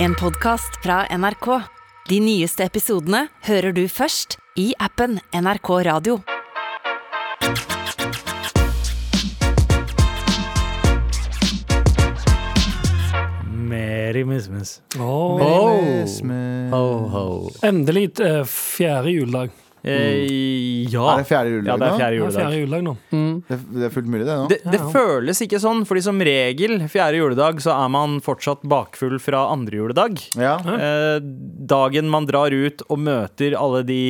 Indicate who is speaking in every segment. Speaker 1: En podcast fra NRK. De nyeste episodene hører du først i appen NRK Radio.
Speaker 2: Merry Christmas.
Speaker 3: Åh.
Speaker 4: Oh.
Speaker 3: Endelig eh, fjerde juledag.
Speaker 4: Eh, ja.
Speaker 2: Ja.
Speaker 4: det
Speaker 5: Er det
Speaker 2: Ja,
Speaker 5: fjerde juledag
Speaker 2: det er
Speaker 5: nå?
Speaker 2: fjerde
Speaker 3: Det er
Speaker 2: juledag.
Speaker 3: fjerde juledag nå.
Speaker 5: Det, det er fullt mulig, det nå.
Speaker 4: Det, det
Speaker 3: Ja, ja.
Speaker 4: føles ikke sånn, fordi som regel fjerde juledag så er man fortsatt bakfull fra andre juledag.
Speaker 5: Ja.
Speaker 4: Eh, dagen man drar ut og møter alle de,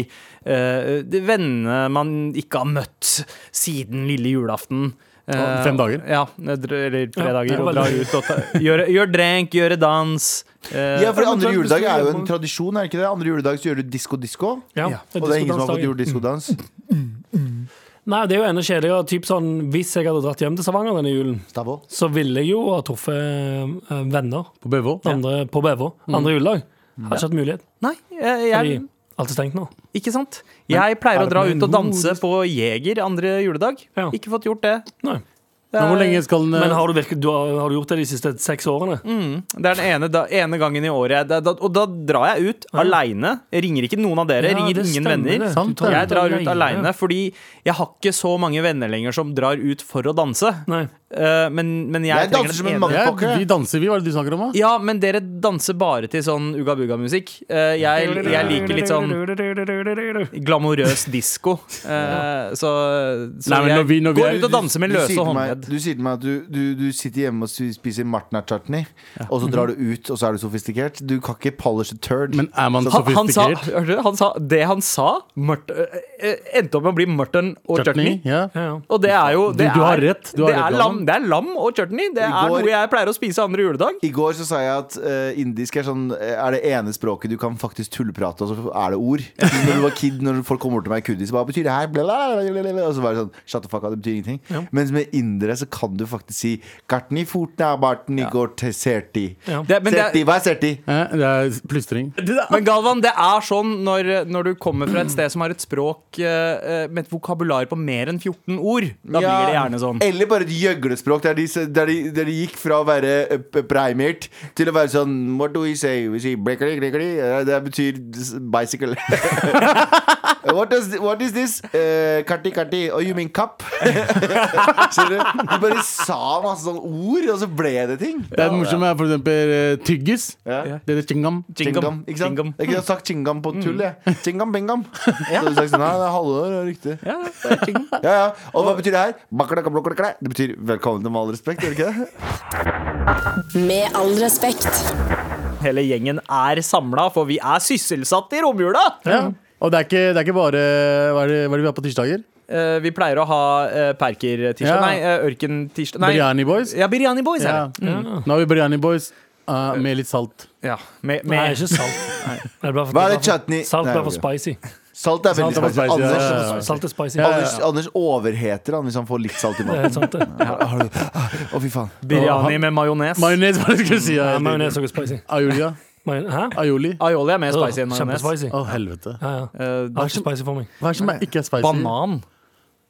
Speaker 4: eh, de vennene man ikke har møtt siden lille julaften. Eh,
Speaker 6: fem dager.
Speaker 4: Ja, dr- eller tre
Speaker 3: Ja, det
Speaker 4: dager.
Speaker 3: er
Speaker 4: Og
Speaker 3: veldig-
Speaker 4: drar ut og ta, gjør, gjør drenk, gjør dans. eh,
Speaker 5: ja, for
Speaker 3: men
Speaker 5: andre
Speaker 3: så-
Speaker 5: juledag er jo en
Speaker 3: så-
Speaker 5: tradisjon, er det ikke det? Andre juledag så gjør du disko-disko,
Speaker 3: Ja,
Speaker 4: Ja.
Speaker 5: og det er ingen som har fått
Speaker 3: diskodansdagen.
Speaker 5: gjort diskodans.
Speaker 3: Nei, det er jo enda kjedeligere. Typ sånn, hvis jeg hadde dratt hjem til Stavanger denne julen,
Speaker 5: Stavå.
Speaker 3: så ville jeg jo ha truffet eh, venner
Speaker 6: På BVH?
Speaker 3: andre, på Bevå andre juledag. Har ikke hatt mulighet,
Speaker 4: Nei, eh, jeg,
Speaker 3: fordi
Speaker 4: jeg,
Speaker 3: alt er stengt nå.
Speaker 4: ikke sant? Jeg pleier å dra
Speaker 6: men
Speaker 4: ut og
Speaker 6: hvor-
Speaker 4: danse på Jeger andre juledag.
Speaker 3: Ja.
Speaker 4: Ikke fått gjort det.
Speaker 3: Nei.
Speaker 4: Det
Speaker 6: Men hvor
Speaker 4: er-
Speaker 6: lenge skal den
Speaker 3: Men har du, virkelig, du har, har du gjort det de siste seks årene?
Speaker 4: Mm, det er den ene, da, ene gangen i året. jeg- Da, da, og da drar jeg ut
Speaker 3: Ja.
Speaker 4: aleine. Jeg Ringer ikke noen av dere.
Speaker 3: Ja,
Speaker 4: ringer
Speaker 3: det
Speaker 4: ingen
Speaker 3: stemmer
Speaker 4: venner.
Speaker 3: det.
Speaker 6: Sant,
Speaker 3: Du tar
Speaker 6: det.
Speaker 4: Jeg
Speaker 3: ut
Speaker 4: drar ut
Speaker 3: alene.
Speaker 4: aleine fordi jeg har ikke så mange venner lenger som drar ut for å danse.
Speaker 3: Nei.
Speaker 4: Eh, men, men jeg,
Speaker 5: Jeg
Speaker 4: trenger
Speaker 5: danser
Speaker 4: den
Speaker 5: som en
Speaker 4: ene-
Speaker 5: mann.
Speaker 6: Ja,
Speaker 5: Fucker.
Speaker 6: vi danser, vi. Hva er det du snakker om? da?
Speaker 4: Ja, men dere danser bare til sånn ugabuga-musikk. Eh, jeg, jeg liker litt sånn glamorøs disko. Eh, så så
Speaker 6: Nei, men når vi-
Speaker 4: jeg
Speaker 6: når vi
Speaker 4: går
Speaker 6: er-
Speaker 4: ut og danser med
Speaker 5: Du
Speaker 4: løse
Speaker 5: sier til meg,
Speaker 4: håndledd.
Speaker 5: du, sier til meg at du, du, du sitter hjemme og spiser martna chutney, og så drar du ut, og så er du sofistikert. Du kan ikke polish a turd.
Speaker 6: Men er man
Speaker 4: Han, han, sa,
Speaker 6: sofistikert?
Speaker 4: hørte du? han sa Det han sa, Murt- eh, eh, endte opp med å bli mutton og chutney.
Speaker 6: Ja.
Speaker 3: Ja, ja.
Speaker 4: Og det er jo
Speaker 6: Du-
Speaker 4: Det,
Speaker 6: du har
Speaker 4: er,
Speaker 6: rett, du har
Speaker 4: det,
Speaker 6: rett,
Speaker 4: er lam,
Speaker 6: Johan.
Speaker 4: det er lam og chutney. Det
Speaker 5: I
Speaker 4: er
Speaker 5: går-
Speaker 4: noe jeg pleier å spise andre juledag.
Speaker 5: I går så sa jeg at eh, indisk er, sånn, eh, er det ene språket du kan faktisk tulleprate, og så er det ord. Når du var kid, når folk kom bort til meg i kurdis, hva betyr det her? Blablabla. Og så var det sånn Shut the fuck up, det betyr ingenting. Mens med indere så kan du faktisk si Gartni fortna bartni går til serti.
Speaker 3: Ja.
Speaker 4: Det, men, det,
Speaker 5: Serti, hva er serti?
Speaker 6: Ja, Det er plystring.
Speaker 4: er- men Galvan, det er sånn når, når du kommer fra et sted som har et språk eh, eh, med et vokabular på mer enn 14 ord. Da
Speaker 5: Ja.
Speaker 4: blir det gjerne sånn.
Speaker 5: Eller bare et gjøglespråk, der de, der, de, der de gikk fra å være eh, p- primert til å være sånn What do we say? We say brekli, brekli. Eh, Det betyr s- bicycle. what, does, what is this? Eh, karti, karti. Oh, you mean cup? Skjønner du? De bare sa masse sånne ord, og så ble det ting.
Speaker 6: Det er morsomt med for eksempel eh, tyggis.
Speaker 5: Ja.
Speaker 6: Det er chingam.
Speaker 5: Chingam, ikke sant?
Speaker 4: Chingam. Mm.
Speaker 5: Jeg kunne sagt chingam på tull, jeg. Chingam bengam. Så hadde du sagt sånn, nei, det er halvår, det er riktig.
Speaker 4: Ja, det er ting.
Speaker 5: Ja, ja. Og hva betyr det her? Bakalaka, blakalaka. Det betyr velkommen til Med all respekt, gjør det ikke det?
Speaker 1: Med all respekt.
Speaker 4: Hele gjengen er samla, for vi er sysselsatt i romjula!
Speaker 6: Ja. Og det er, ikke, det er ikke bare Hva er det, hva er det vi har på tirsdager?
Speaker 4: Eh, vi pleier å ha eh, Perker-tirsdag.
Speaker 6: Ja.
Speaker 4: Nei, eh, Ørken-tirsdag. Nei.
Speaker 6: Biryani Boys.
Speaker 4: Ja, Biryani Boys
Speaker 6: Ja. Mm.
Speaker 4: er det.
Speaker 6: Nå har vi Biryani Boys eh, med litt salt.
Speaker 4: Ja. Med,
Speaker 3: Nei,
Speaker 4: med,
Speaker 3: ikke salt. Det bare for-
Speaker 5: Hva er det chutney?
Speaker 3: Salt
Speaker 5: Nei,
Speaker 3: er for
Speaker 5: ok.
Speaker 3: spicy.
Speaker 5: Salt er veldig
Speaker 6: Salt er
Speaker 5: spicy.
Speaker 6: faktisk-
Speaker 5: Anders,
Speaker 6: ja, ja, ja.
Speaker 3: Salt er spicy.
Speaker 6: Ja, ja.
Speaker 5: Anders, Anders overheter han hvis han får litt salt i
Speaker 3: Det er
Speaker 5: maten.
Speaker 3: helt sant, det.
Speaker 5: Har- har du- Å, fy faen.
Speaker 4: biryani med majones.
Speaker 6: Majones, hva er det jeg skulle si?
Speaker 3: Ja,
Speaker 6: Ja,
Speaker 3: Eh, Majones er også spicy.
Speaker 6: Aioli, ja.
Speaker 3: Majon- Hæ?
Speaker 6: Aioli.
Speaker 4: Aioli er mer spicy enn majones.
Speaker 3: Kjempespicy.
Speaker 6: Å, helvete.
Speaker 3: Ja, ja.
Speaker 4: Eh,
Speaker 3: Det er ikke spicy for meg.
Speaker 6: Hva er det som er ikke er spicy?
Speaker 4: Banan.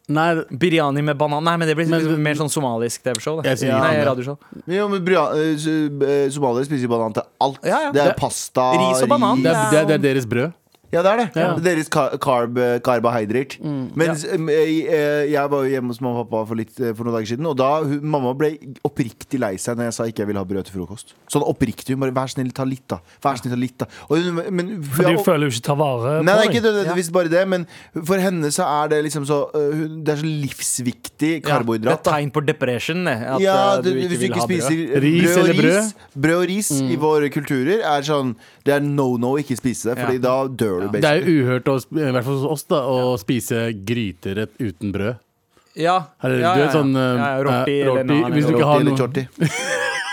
Speaker 6: Nei,
Speaker 4: Biryani med banan. Nei, men det blir
Speaker 6: Men-
Speaker 4: mer sånn somalisk TV-show. det.
Speaker 6: Jeg sier
Speaker 4: Nei,
Speaker 6: ikke det.
Speaker 4: radioshow.
Speaker 5: Jo, men brya- eh, s- eh, Somaliere spiser jo banan til alt.
Speaker 4: Ja, ja.
Speaker 5: Det er
Speaker 4: Det-
Speaker 5: pasta,
Speaker 4: ris og banan.
Speaker 6: det er, det er, det er deres brød.
Speaker 5: Ja, det er det.
Speaker 6: Ja.
Speaker 5: Det er Deres ka- carb, carbohydrate. Mens em, jeg, eh, jeg var jo hjemme hos mamma og pappa for, litt, eh, for noen dager siden, og da hun, mamma ble oppriktig lei seg når jeg sa ikke jeg ville ha brød til frokost. Sånn oppriktig. Hun bare 'vær snill, ta litt', da. Vær snill, ta litt, da. Og hun, men,
Speaker 3: For
Speaker 5: ja,
Speaker 3: du
Speaker 5: og-
Speaker 3: føler jo ikke ta vare
Speaker 5: Nei, det er
Speaker 3: på
Speaker 5: ikke
Speaker 3: deg.
Speaker 5: nødvendigvis bare det, men for henne så er det liksom så øh, hun- Det er så livsviktig
Speaker 4: det er
Speaker 5: karbohydrat. da.
Speaker 4: tegn på depression. det, At
Speaker 5: Ja,
Speaker 4: eh,
Speaker 5: du,
Speaker 4: du ikke
Speaker 5: hvis du
Speaker 4: vil
Speaker 5: ikke
Speaker 4: ha
Speaker 5: spiser
Speaker 4: brød.
Speaker 6: Ris
Speaker 5: brød og
Speaker 6: eller brød?
Speaker 5: ris, brød og ris i våre kulturer er sånn Det er no no ikke spise det, Fordi
Speaker 4: Ja.
Speaker 5: da dør du,
Speaker 6: Det er
Speaker 5: basically.
Speaker 6: jo uhørt, å, sp- i hvert fall hos oss, da, å spise gryterett uten brød.
Speaker 4: Ja,
Speaker 6: Eller, du vet sånn eh,
Speaker 4: ja, ja, rorti,
Speaker 6: eh,
Speaker 4: eller noe annet.
Speaker 6: Hvis du
Speaker 5: Rorti
Speaker 6: ikke har
Speaker 5: eller
Speaker 6: noe
Speaker 5: chorti.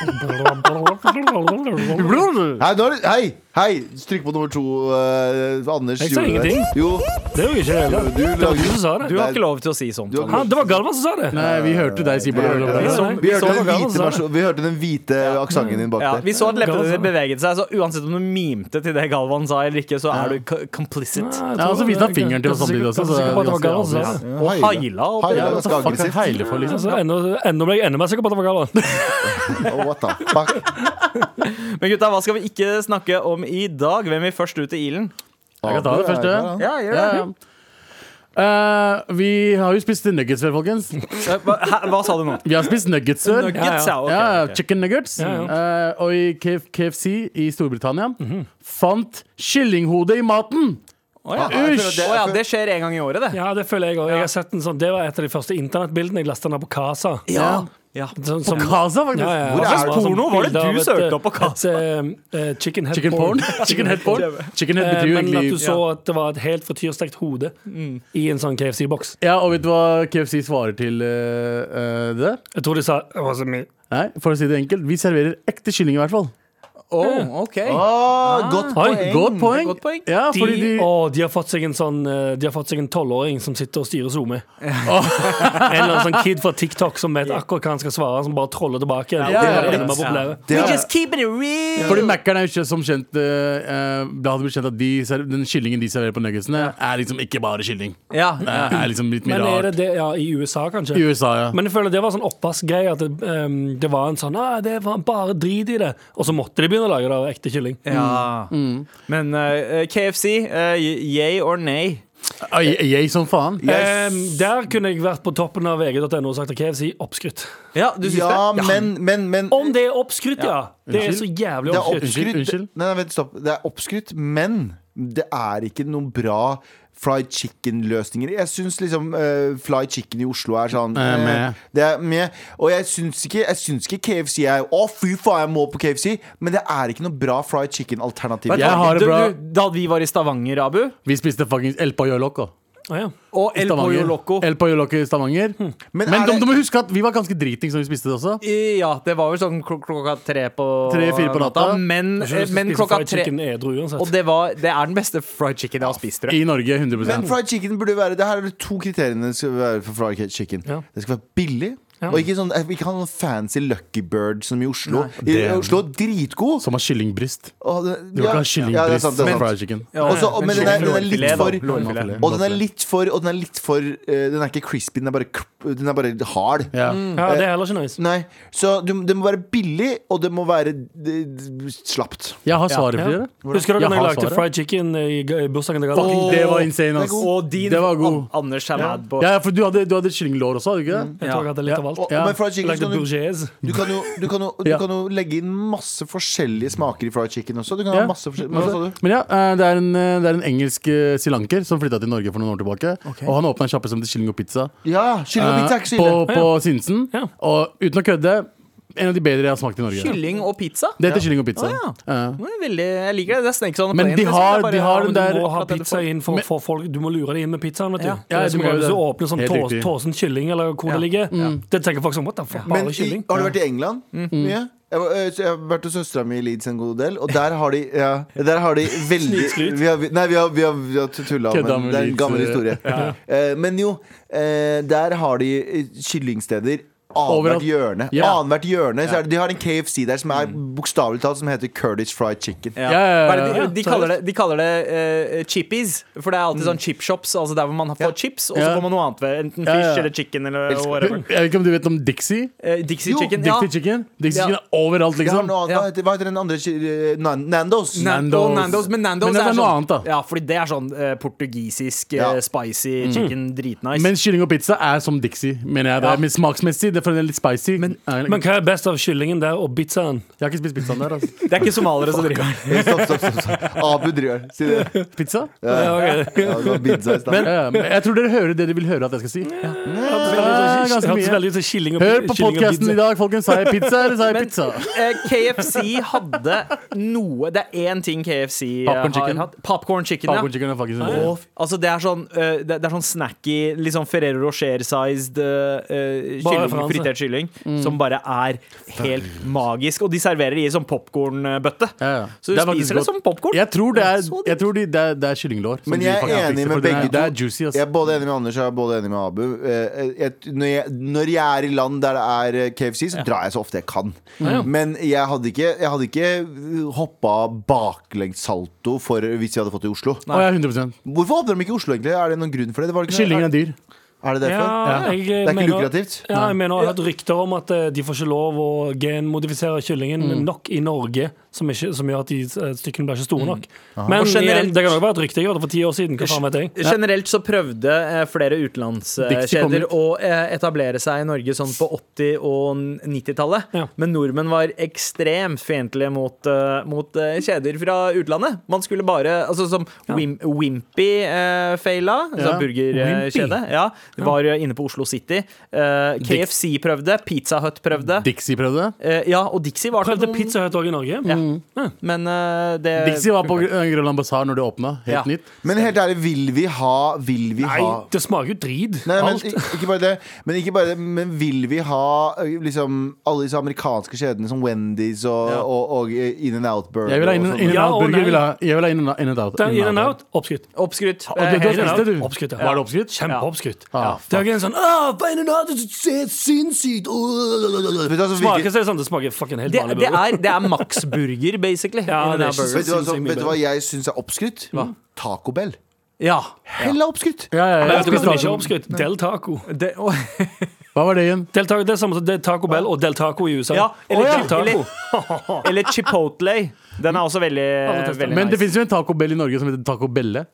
Speaker 3: Blablabla.
Speaker 5: Hei, nå er det- hei! Hei, trykk på nummer to. eh, Anders
Speaker 3: Jeg sa
Speaker 5: gjorde det.
Speaker 3: ingenting.
Speaker 5: Jo,
Speaker 3: Det er jo ikke
Speaker 5: du,
Speaker 3: det.
Speaker 5: du
Speaker 3: Det var du som sa det.
Speaker 4: Du har ikke lov til å si sånt.
Speaker 5: Du har
Speaker 3: Hæ,
Speaker 5: ikke
Speaker 4: Anders.
Speaker 3: det var Galvan som sa det.
Speaker 6: Nei, vi hørte deg si
Speaker 3: vi
Speaker 6: blablabla.
Speaker 3: så-
Speaker 5: vi,
Speaker 3: vi
Speaker 5: hørte
Speaker 3: Galvan
Speaker 5: den hvite
Speaker 3: sa det.
Speaker 5: versjon- vi hørte den hvite aksenten din bak
Speaker 4: Ja,
Speaker 5: der.
Speaker 4: vi så at leppene dine beveget seg, så uansett om du mimte til det Galvan sa eller ikke, så er du co- complicit.
Speaker 3: Ja, jeg
Speaker 6: Ja,
Speaker 3: tror
Speaker 6: og så viste
Speaker 3: det. Jeg
Speaker 6: han
Speaker 3: er
Speaker 6: fingeren til oss
Speaker 3: ganske
Speaker 6: samtidig også,
Speaker 3: sikker- ganske
Speaker 6: så
Speaker 3: sikker på at det
Speaker 6: vi
Speaker 3: var Galvan som
Speaker 6: også
Speaker 3: sa det.
Speaker 5: Ja,
Speaker 4: Og
Speaker 5: Haila.
Speaker 4: haila og
Speaker 5: Haila
Speaker 6: Ja,
Speaker 5: er
Speaker 6: hva
Speaker 5: ganske
Speaker 6: faen
Speaker 5: aggressivt.
Speaker 6: heiler for,
Speaker 3: Altså,
Speaker 6: liksom?
Speaker 3: enda- enda ble jeg enda mer sikker på at det var Galvan.
Speaker 5: Oh, what the fuck?
Speaker 4: Men gutta, hva skal vi ikke snakke om i dag? Hvem vil først ut i ilden?
Speaker 6: Jeg kan ta det første.
Speaker 4: Ja,
Speaker 6: Ja, ja. Eh, vi har jo spist nuggets før, folkens.
Speaker 4: Eh, Hva, hæ, hva sa du nå?
Speaker 6: Vi har spist nuggets før.
Speaker 4: Nuggets, ja. ok,
Speaker 6: ja,
Speaker 4: ok.
Speaker 6: Chicken nuggets. Eh, og i K- KFC i Storbritannia fant kyllinghode i maten!
Speaker 4: Å ja.
Speaker 5: jeg føler at det-
Speaker 4: Å ja, det skjer en gang i året, det.
Speaker 3: Ja, det føler jeg òg. Jeg har sett en sånn, det var et av de første internettbildene jeg lasta ned på Casa.
Speaker 4: Ja. ja.
Speaker 3: Sånn,
Speaker 6: På Casa, faktisk!
Speaker 3: Ja, ja, ja.
Speaker 5: Hvor
Speaker 3: Det
Speaker 5: er
Speaker 3: var
Speaker 5: det?
Speaker 3: sånn
Speaker 4: Porno? Var det
Speaker 3: bilde
Speaker 4: du
Speaker 3: av et,
Speaker 4: søkte opp på
Speaker 3: et,
Speaker 4: Casa?
Speaker 3: eh, eh, chicken head
Speaker 6: Chicken porn. Chicken head porn. Chicken head
Speaker 3: Eh,
Speaker 6: betyr jo
Speaker 3: Men at du
Speaker 6: egentlig Mm.
Speaker 3: så at det var et helt frityrstekt hode i en sånn KFC-boks.
Speaker 6: Ja, og vet du hva KFC svarer til eh, eh, det?
Speaker 3: Jeg tror de sa det var så mye.
Speaker 6: Nei, for å si det enkelt, vi serverer ekte kylling i hvert fall.
Speaker 4: Å, OK.
Speaker 5: Å, godt
Speaker 3: Oi,
Speaker 5: poeng.
Speaker 6: Godt poeng.
Speaker 4: Godt poeng.
Speaker 6: Ja,
Speaker 3: De,
Speaker 6: fordi de,
Speaker 3: å, de har fått seg en sånn eh, De har fått seg en tolvåring som sitter og styrer SoMe. en eller annen sånn kid fra TikTok som vet akkurat hva han skal svare, som bare troller tilbake.
Speaker 6: Ja,
Speaker 3: det var
Speaker 6: ja,
Speaker 3: det
Speaker 6: ja.
Speaker 3: ene med problemet.
Speaker 5: Det er-
Speaker 4: keeping it real.
Speaker 6: fordi Mac-eren er jo ikke som kjent eh, eh, Det hadde blitt kjent at de, ser- den kyllingen de serverer på nuggetsene, er liksom ikke bare kylling.
Speaker 4: Ja.
Speaker 6: Det er liksom litt mye
Speaker 3: Men er det
Speaker 6: rart.
Speaker 3: det ja, i USA, kanskje?
Speaker 6: I USA, ja.
Speaker 3: Men jeg føler det var sånn oppvaskgreie. At det, ehm, det var en sånn ah, det var bare drit i det. Og så måtte de begynne å lage det av ekte kylling.
Speaker 4: Ja. Men eh, KFC, uh, yay or nay?
Speaker 6: Ah, jeg, jeg som faen.
Speaker 5: Yes.
Speaker 3: Ehm, der kunne jeg vært på toppen av vg.no og sagt at KFC er oppskrytt.
Speaker 4: Ja, du syns
Speaker 5: Ja,
Speaker 4: det?
Speaker 5: men, men, men
Speaker 3: Om det er oppskrytt, ja! Det er så jævlig
Speaker 5: Det er
Speaker 3: oppskrytt.
Speaker 5: oppskrytt.
Speaker 6: Unnskyld, unnskyld.
Speaker 5: Nei, nei, vent, stopp. Det er oppskrytt, men det er ikke noen bra fried chicken-løsninger. Jeg syns liksom uh, fried chicken i Oslo er sånn
Speaker 6: Eh, med.
Speaker 5: eh, Det er med. Og jeg syns ikke, jeg syns ikke KFC er Å, fy faen, jeg må på KFC! Men det er ikke noe bra fried chicken-alternativ.
Speaker 4: Vent,
Speaker 6: Jeg har det
Speaker 4: du-
Speaker 6: bra.
Speaker 4: du- Da vi var i Stavanger, Abu,
Speaker 6: Vi spiste fuckings El Pollo Loco.
Speaker 3: Ah, ja.
Speaker 4: og
Speaker 6: i
Speaker 4: El
Speaker 6: Stavanger.
Speaker 4: Pollo Loco
Speaker 6: El Pollo Loco i Stavanger. Men,
Speaker 5: er
Speaker 6: de,
Speaker 5: det-
Speaker 6: du må huske at vi var ganske dritings når vi spiste det også.
Speaker 4: I- Ja, det var vel sånn kl klokka tre på
Speaker 6: Tre-fire på natta.
Speaker 4: Men, eh,
Speaker 3: Jeg synes du
Speaker 4: men
Speaker 3: spiser
Speaker 4: klokka
Speaker 3: fried
Speaker 4: tre
Speaker 3: chicken edru uansett.
Speaker 4: Og det, var, det er den beste fried chicken jeg har spist, tror jeg.
Speaker 6: I Norge 100
Speaker 5: Men fried chicken burde være Det her er de to kriteriene det skal være for fried chicken.
Speaker 3: Ja.
Speaker 5: Det skal være billig.
Speaker 3: Ja.
Speaker 5: Og ikke, sånn, ikke ha noen fancy Lucky Bird som i Oslo. I,
Speaker 6: det-
Speaker 5: Oslo er dritgod.
Speaker 6: Som har kyllingbryst.
Speaker 5: Å, det,
Speaker 6: Du
Speaker 5: ja, ja, det
Speaker 6: kan ikke ha
Speaker 5: er
Speaker 6: kyllingbryst
Speaker 5: sant, det er
Speaker 6: som
Speaker 5: sant.
Speaker 6: fried chicken.
Speaker 4: Ja,
Speaker 5: Også, og, men den er, den er litt
Speaker 4: lårfilet, da.
Speaker 5: for
Speaker 4: Lårfilet.
Speaker 5: Og den er litt for, og den er, litt for eh, den er ikke crispy, den er bare, kr- den er bare hard.
Speaker 6: Ja.
Speaker 3: ja, det er heller ikke nice.
Speaker 5: Nei, Så du, det må være billig, og det må være eh, slapt.
Speaker 6: Jeg har svaret for
Speaker 3: Ja.
Speaker 6: dere.
Speaker 3: Husker dere
Speaker 6: Jeg
Speaker 3: når jeg
Speaker 6: har
Speaker 3: lagde
Speaker 6: svaret.
Speaker 3: fried chicken i i bursdagen til Galvan?
Speaker 6: Fucking, det var insane, ass.
Speaker 4: Og din
Speaker 6: Det var god.
Speaker 4: An- Anders er mad på.
Speaker 6: Ja, ja, for du hadde, du hadde kyllinglår også, hadde du ikke det?
Speaker 3: Jeg tror jeg hadde litt av alt.
Speaker 5: Og,
Speaker 6: Ja.
Speaker 5: Men fried
Speaker 3: Jeg
Speaker 5: chicken så
Speaker 3: lagde
Speaker 5: kan du,
Speaker 3: bourgeoise.
Speaker 5: du, kan jo, du, kan jo, du
Speaker 6: Ja.
Speaker 5: kan jo legge inn masse forskjellige smaker i fried chicken også. Du kan
Speaker 6: Ja.
Speaker 5: ha masse forskjellige Hva sa du?
Speaker 6: Men ja, eh, det er en, eh, det er en engelsk eh, srilanker som flytta til Norge for noen år tilbake. Og han åpna en sjappe som heter Kylling og pizza
Speaker 5: Ja, kylling og
Speaker 6: eh,
Speaker 5: pizza er ikke så
Speaker 6: på,
Speaker 5: ille.
Speaker 6: på Sinsen.
Speaker 3: Ja.
Speaker 6: Og uten å kødde, en av de bedre jeg har smakt i Norge.
Speaker 4: Kylling og pizza?
Speaker 6: Det heter kylling og pizza.
Speaker 4: Å,
Speaker 6: Ja.
Speaker 4: Det er Veldig, jeg liker det. Det er sneakers on a
Speaker 6: Men
Speaker 4: plane,
Speaker 6: de
Speaker 4: liksom.
Speaker 6: har-
Speaker 4: Det er bare-
Speaker 6: de har
Speaker 3: Du
Speaker 6: den der-
Speaker 3: må ha
Speaker 4: akkurat det du
Speaker 3: pizza
Speaker 4: får.
Speaker 3: inn for, for folk Du må lure dem inn med pizzaen, vet du.
Speaker 4: Ja.
Speaker 3: Det
Speaker 6: Ja,
Speaker 3: er
Speaker 6: du
Speaker 3: som
Speaker 6: må
Speaker 3: regel
Speaker 6: jo
Speaker 3: hvis du
Speaker 6: det.
Speaker 3: åpner sånn
Speaker 6: Helt
Speaker 3: tå,
Speaker 6: riktig.
Speaker 3: tåsen kylling, eller hvor
Speaker 4: Ja.
Speaker 3: det ligger, det tenker folk sånn What the fuck?
Speaker 5: Men
Speaker 3: Bare
Speaker 5: i,
Speaker 3: kylling?
Speaker 5: har du vært i England?
Speaker 6: Mhm.
Speaker 5: Mye? Jeg, var- eh, så jeg har vært hos søstera mi i Leeds en god del, og der har de, ja, der har de veldig
Speaker 3: Snikskryt.
Speaker 5: vi har, vi- Nei, vi har, vi har, vi har tulla,
Speaker 6: Kødda
Speaker 5: men
Speaker 6: med
Speaker 5: det er en
Speaker 6: Leeds,
Speaker 5: gammel
Speaker 6: eh,
Speaker 5: historie. Eh, Men jo, eh, der har de eh, kyllingsteder. Annethvert
Speaker 6: Overalt.
Speaker 5: hjørne.
Speaker 6: Ja. Mm.
Speaker 5: Annethvert hjørne så er det, De har en KFC der som er bokstavelig talt som heter Kurdish fried chicken.
Speaker 4: Ja.
Speaker 6: Ja, ja, ja,
Speaker 4: Hva er det
Speaker 6: ja.
Speaker 4: De, de kaller det, de kaller det eh, chippies, for det er alltid sånn chip shops. Altså der hvor man får chips, og så
Speaker 6: Ja.
Speaker 4: får man noe annet. ved, Enten
Speaker 6: Ja,
Speaker 4: fish
Speaker 6: ja.
Speaker 4: eller chicken eller
Speaker 5: Elsker-
Speaker 4: whatever.
Speaker 6: Jeg vet ikke om du vet om Dixie?
Speaker 4: Eh, Dixie
Speaker 5: Jo,
Speaker 4: chicken.
Speaker 6: Dixie chicken Dixie
Speaker 4: Ja.
Speaker 6: chicken er overalt,
Speaker 5: De har
Speaker 6: liksom.
Speaker 5: noe annet,
Speaker 4: Ja.
Speaker 5: hva, heter, hva heter den andre ky- eh, Nan- Nandos?
Speaker 4: Na-
Speaker 6: Nandos.
Speaker 4: og Nandos. Men Nandos
Speaker 6: Men det er
Speaker 4: sånn,
Speaker 6: noe annet, da.
Speaker 4: Ja, fordi det er sånn eh, portugisisk, eh,
Speaker 5: Ja.
Speaker 4: spicy chicken. Dritnice.
Speaker 6: Mm. Men kylling og pizza er som Dixie, mener jeg. Det er
Speaker 4: Ja.
Speaker 6: men smaksmessig. Det er for den er litt spicy. Nei,
Speaker 3: Men hva er best av kyllingen der og pizzaen?
Speaker 6: jeg har ikke spist pizzaen der, altså.
Speaker 4: det er ikke somaliere som driver med
Speaker 5: Eh, Stopp, stopp, stopp. stopp. Abu driver. Si det.
Speaker 6: Pizza?
Speaker 5: Ja, ja, det var pizza i stad.
Speaker 6: Ja, ja, men jeg tror dere hører det dere vil høre at jeg skal si.
Speaker 3: Det
Speaker 6: ganske
Speaker 3: hørtes
Speaker 6: mye.
Speaker 3: veldig ut som kylling og
Speaker 6: Hør på
Speaker 3: kylling og
Speaker 6: podkasten i
Speaker 3: pizza.
Speaker 6: dag, folkens. Sa jeg pizza, eller sa jeg
Speaker 4: Men
Speaker 6: pizza?
Speaker 4: eh, KFC hadde noe Det er én ting KFC
Speaker 6: Popcorn
Speaker 4: eh, har
Speaker 6: chicken.
Speaker 4: hatt. Popcorn chicken.
Speaker 6: Popcorn
Speaker 4: ja.
Speaker 6: chicken er faktisk
Speaker 4: Å, f- altså det er sånn eh, det, det er sånn snacky, litt sånn Ferrero Rocher-sized uh,
Speaker 3: Bare fransk.
Speaker 4: fritert kylling, som bare er helt magisk. Og de serverer det i sånn popkornbøtte.
Speaker 6: Ja, ja.
Speaker 4: Så du
Speaker 6: Det er faktisk
Speaker 4: spiser det
Speaker 6: godt.
Speaker 4: som popkorn.
Speaker 6: Jeg tror det er,
Speaker 4: Så digg.
Speaker 6: jeg tror de, det, er, det er kyllinglår. som
Speaker 5: Men
Speaker 6: de
Speaker 5: jeg
Speaker 6: faktisk
Speaker 5: er
Speaker 6: fikser,
Speaker 5: enig
Speaker 6: for
Speaker 5: med
Speaker 6: det er-
Speaker 5: begge to.
Speaker 6: Det er juicy, ass.
Speaker 5: Jeg er både enig med Anders og jeg er både enig med Abu. Eh, Jeg, når, jeg, når jeg er i land der det er eh, KFC, så drar jeg så ofte jeg kan. Men jeg hadde ikke, jeg hadde ikke eh, hoppa baklengssalto for, hvis vi hadde fått det i Oslo.
Speaker 6: Å, ja, 100
Speaker 5: Hvorfor åpner de ikke i Oslo, egentlig? Er det noen grunn for det? det var ikke,
Speaker 6: Kylling er dyr.
Speaker 5: Er det derfor?
Speaker 3: jeg,
Speaker 5: Det er ikke
Speaker 3: mener-
Speaker 5: lukrativt?
Speaker 3: Ja, jeg mener, jeg har hørt rykter om at eh, de får ikke lov å genmodifisere kyllingen nok i Norge, som, ikke, som gjør at de eh, stykkene blir ikke store nok. Men
Speaker 4: Og generelt-
Speaker 3: igjen, det kan jo være et rykte jeg hørte for ti år siden. Hva faen vet jeg?
Speaker 4: Generelt så prøvde eh, flere
Speaker 6: Dixie kom
Speaker 4: utenlandskjeder
Speaker 6: ut.
Speaker 4: å eh, etablere seg i Norge sånn på 80- og 90-tallet.
Speaker 3: Ja.
Speaker 4: Men nordmenn var ekstremt fiendtlige mot, eh, mot eh, kjeder fra utlandet. Man skulle bare Altså som Wim, Wimpy eh, feila, altså
Speaker 6: Ja.
Speaker 4: burgerkjede. Ja, det var eh, inne på Oslo City. Eh, KFC prøvde, Pizza Hut prøvde.
Speaker 6: Dixie prøvde det.
Speaker 4: Eh, ja, og Dixie var til
Speaker 3: Prøvde
Speaker 4: noen-
Speaker 3: Pizza Hut òg i Norge.
Speaker 4: Mm. Ja. Men eh, det
Speaker 6: Mm. Dixie var på Gr- Grønland Bazaar når det åpna. Helt
Speaker 4: Ja.
Speaker 6: nytt.
Speaker 5: Men helt ærlig, vil vi ha Vil vi
Speaker 3: Nei,
Speaker 5: ha
Speaker 3: det smaker jo drit.
Speaker 5: Nei, men,
Speaker 3: Alt.
Speaker 5: ik- ikke bare det, men, ikke bare det, men vil vi ha eh, liksom, alle disse amerikanske kjedene som Wendy's og,
Speaker 4: Ja.
Speaker 5: og, og In and Out Burger?
Speaker 6: Jeg vil ha
Speaker 5: og
Speaker 6: In-
Speaker 5: sånn?
Speaker 6: In and
Speaker 3: Ja og
Speaker 6: Out burger.
Speaker 3: nei.
Speaker 6: vil jeg ha- Jeg vil ha In and Out.
Speaker 3: Den In and Out, oppskrytt.
Speaker 4: Oppskrytt.
Speaker 6: Og det-
Speaker 4: Eh,
Speaker 6: du har
Speaker 4: helt-
Speaker 6: spist det, du?
Speaker 3: Oppskrytt, ja.
Speaker 6: Var det oppskrytt?
Speaker 3: Kjempeoppskrytt.
Speaker 6: Ah,
Speaker 3: det er ikke en sånn «Åh, In and Out, det ser sinnssykt
Speaker 5: Vet du hva som virker-
Speaker 3: Smaker så er det sånn, det smaker fucking helt
Speaker 4: Det,
Speaker 3: vanlig
Speaker 4: det
Speaker 3: burger.
Speaker 4: er, det er Max Burger, basically.
Speaker 3: Ja,
Speaker 4: In and
Speaker 3: det
Speaker 4: out
Speaker 3: er
Speaker 4: burger.
Speaker 5: Vet du, hva,
Speaker 3: Sinnssykt
Speaker 5: som,
Speaker 3: mye
Speaker 5: vet du hva
Speaker 3: bedre.
Speaker 5: jeg syns er oppskrytt? Taco Bell.
Speaker 4: Ja.
Speaker 5: Hella oppskrytt!
Speaker 6: Ja, ja, ja.
Speaker 3: Men
Speaker 6: Jeg
Speaker 3: vet du hva som ikke
Speaker 6: spiste
Speaker 3: er
Speaker 6: taco.
Speaker 3: oppskrytt? Del Taco.
Speaker 4: Det, å,
Speaker 6: Hva var det igjen?
Speaker 3: Del taco, det er samme som Del Taco Bell og Del Taco i USA.
Speaker 4: ja. Eller,
Speaker 3: Å, ja.
Speaker 4: chi- eller, eller Chipotle. Den er også veldig,
Speaker 3: Alle tester.
Speaker 4: veldig
Speaker 6: Men det
Speaker 4: nice.
Speaker 6: fins jo en Taco Bell i Norge som heter Taco Belle.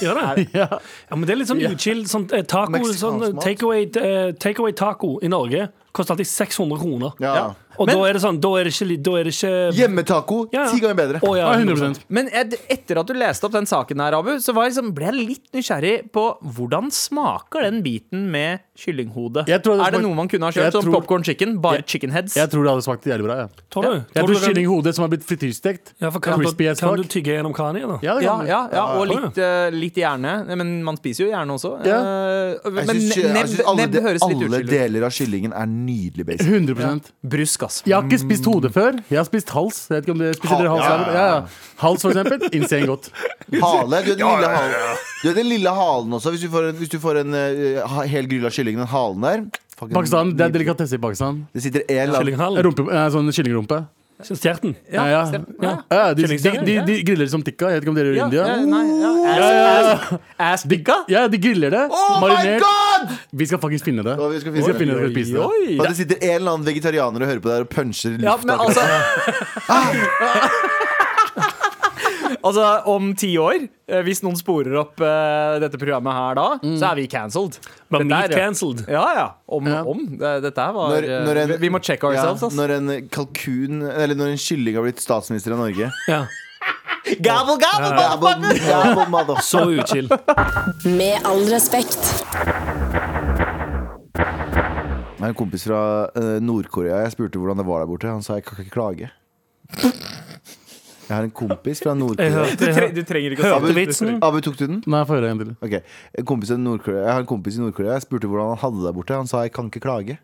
Speaker 3: Gjør det?
Speaker 6: Ja.
Speaker 3: Ja, men det er litt sånn uchill. Sånn, eh, taco,
Speaker 5: Meksikansk
Speaker 3: sånn, eh,
Speaker 5: mat.
Speaker 3: takeaway eh, takeaway taco i Norge koster alltid 600 kroner.
Speaker 5: Ja.
Speaker 4: Ja.
Speaker 3: Og
Speaker 4: Men-
Speaker 3: da er det sånn, da er det ikke li- Da er det ikke
Speaker 5: Hjemmetaco
Speaker 3: Ja, ja.
Speaker 5: ti ganger bedre.
Speaker 3: Å, ja,
Speaker 6: Ja, 100
Speaker 4: Men ed- etter at du leste opp den saken her, Abu, så var jeg liksom, ble jeg litt nysgjerrig på hvordan smaker den biten med kyllinghode.
Speaker 6: Jeg tror det
Speaker 4: er det
Speaker 6: smak-
Speaker 4: noe man kunne ha
Speaker 6: Jeg
Speaker 4: kjørt? Sånn
Speaker 6: tror-
Speaker 4: popcorn chicken? Bare
Speaker 6: Jeg-
Speaker 4: chicken heads?
Speaker 6: Jeg tror det hadde smakt jævlig bra. Ja.
Speaker 3: Tror du?
Speaker 6: Jeg
Speaker 3: tror du
Speaker 6: tror
Speaker 3: kan-
Speaker 6: kyllinghode som har blitt frityrstekt.
Speaker 3: Ja, for kan,
Speaker 6: Crispy
Speaker 3: du,
Speaker 6: as
Speaker 3: kan du
Speaker 6: fuck.
Speaker 3: tygge gjennom kraniet, da?
Speaker 6: Ja, det
Speaker 4: Ja,
Speaker 6: kan
Speaker 4: ja, ja, og
Speaker 3: Ja.
Speaker 4: litt, eh, litt hjerne. Nei, Men man spiser jo hjerne også.
Speaker 6: Ja.
Speaker 4: Eh,
Speaker 5: Jeg
Speaker 4: men
Speaker 5: syns- jeg
Speaker 4: nebb,
Speaker 5: syns alle,
Speaker 4: nebb
Speaker 5: de-
Speaker 4: høres litt
Speaker 5: alle
Speaker 4: utskjellig ut.
Speaker 5: deler av kyllingen er nydelig basic.
Speaker 6: 100
Speaker 4: Brusk, ass.
Speaker 6: Jeg har ikke spist hode før. Jeg har spist hals. Jeg vet ikke om dere spiser
Speaker 5: Ha-
Speaker 6: dere hals,
Speaker 5: ja, ja,
Speaker 6: ja, ja. hals, for eksempel. Insane godt.
Speaker 5: Hale. Du vet den lille halen, du vet den lille halen også. Hvis du får en, hvis du får en eh, ha- hel grill av kyllingen, den halen der fucking
Speaker 6: Pakistan, Det er
Speaker 5: nydelig.
Speaker 6: delikatesse i Pakistan.
Speaker 5: Det sitter en eller annen
Speaker 3: Kyllinghalen?
Speaker 6: Rumpe, eh, sånn kyllingrumpe.
Speaker 3: Stjerten?
Speaker 6: Ja, ja.
Speaker 4: Ja.
Speaker 6: Ja, de, de,
Speaker 3: Kyllingstenger,
Speaker 6: de, de griller det som tikka. Jeg vet ikke om dere gjør i
Speaker 4: Ja,
Speaker 6: India.
Speaker 4: ja, nei, ja. Ass, ass, ass tikka?
Speaker 6: Ja, de griller det.
Speaker 5: Oh my
Speaker 6: marinert.
Speaker 5: god!
Speaker 6: Vi skal faktisk finne det.
Speaker 5: Ja, vi skal
Speaker 6: Vi skal
Speaker 5: finne
Speaker 6: finne
Speaker 5: det.
Speaker 6: det for å spise det.
Speaker 4: Oi!
Speaker 5: Og det sitter en eller annen vegetarianer og hører på der og puncher
Speaker 4: Ja,
Speaker 5: lufta.
Speaker 4: men altså Altså, om ti år, eh, hvis noen sporer opp eh, dette programmet her da,
Speaker 5: Mm.
Speaker 4: så er vi cancelled.
Speaker 3: Var
Speaker 4: Dette
Speaker 3: meat
Speaker 4: er-
Speaker 3: cancelled?
Speaker 4: Ja, ja. Om,
Speaker 6: Ja.
Speaker 4: om. Det- Dette her var
Speaker 5: Når- når en-
Speaker 4: eh, Vi vi må check ourselves, ass.
Speaker 5: når en kalkun Eller når en kylling har blitt statsminister av Norge.
Speaker 3: Ja.
Speaker 4: Gabble, gabble,
Speaker 5: Gabble, gabble, mother-
Speaker 3: Så uchill.
Speaker 7: Med all respekt.
Speaker 5: Jeg har en kompis fra eh, Nord-Korea. Jeg spurte hvordan det var der borte. Han sa jeg kan ikke klage. Jeg har en kompis fra
Speaker 3: Jeg
Speaker 5: Nord-Korea.
Speaker 4: Du, tre,
Speaker 3: hørte,
Speaker 4: du trenger ikke å
Speaker 3: hørte
Speaker 4: si det.
Speaker 3: vitsen.
Speaker 5: Abu, tok du den?
Speaker 6: Nei, få høre en til.
Speaker 5: Ok, En kompis fra Nord-Korea Jeg har en kompis i Nord-Korea. Jeg spurte hvordan han hadde det der borte. Han sa jeg kan ikke klage.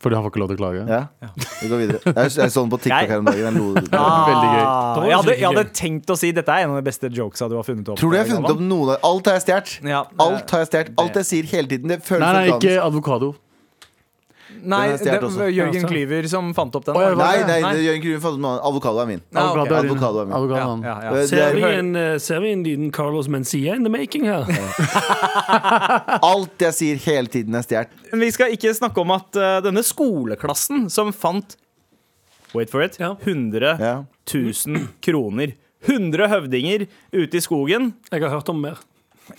Speaker 6: Fordi han får ikke lov til å klage.
Speaker 5: Ja, Vi går videre. Jeg, jeg så den på TikTok her om dagen. Jeg lo.
Speaker 6: Veldig gøy.
Speaker 4: Ah, jeg, hadde, jeg hadde tenkt å si dette er en av de beste jokesa du har funnet opp. eh,
Speaker 5: Tror du jeg har funnet opp noe av Alt har jeg stjålet.
Speaker 4: Ja.
Speaker 5: Alt har jeg stjålet. Alt jeg sier hele tiden. Det føles
Speaker 6: Nei, nei,
Speaker 5: organisk.
Speaker 6: ikke avokado.
Speaker 4: Nei,
Speaker 5: Den er
Speaker 4: det
Speaker 5: stjålet også.
Speaker 4: var Jørgen Klyver som fant opp den.
Speaker 6: Å, ja,
Speaker 4: Nei,
Speaker 5: Nei, nei, det gjør ikke noe, faen, man- avokado er min.
Speaker 4: Ja, ok.
Speaker 6: Avokado er din.
Speaker 5: Avokado er min.
Speaker 6: Avokado
Speaker 4: ja,
Speaker 6: er
Speaker 4: ja,
Speaker 6: min.
Speaker 4: ja.
Speaker 5: Det-
Speaker 3: Ser vi,
Speaker 5: hør-
Speaker 3: en, eh, ser vi en liten Carlos Mencia in the making her?
Speaker 5: Alt jeg sier hele tiden er stjålet.
Speaker 4: Men vi skal ikke snakke om at eh, denne skoleklassen som fant Wait for it 100
Speaker 5: Ja.
Speaker 4: 000 kroner. 100 høvdinger ute i skogen.
Speaker 3: Jeg har hørt om mer.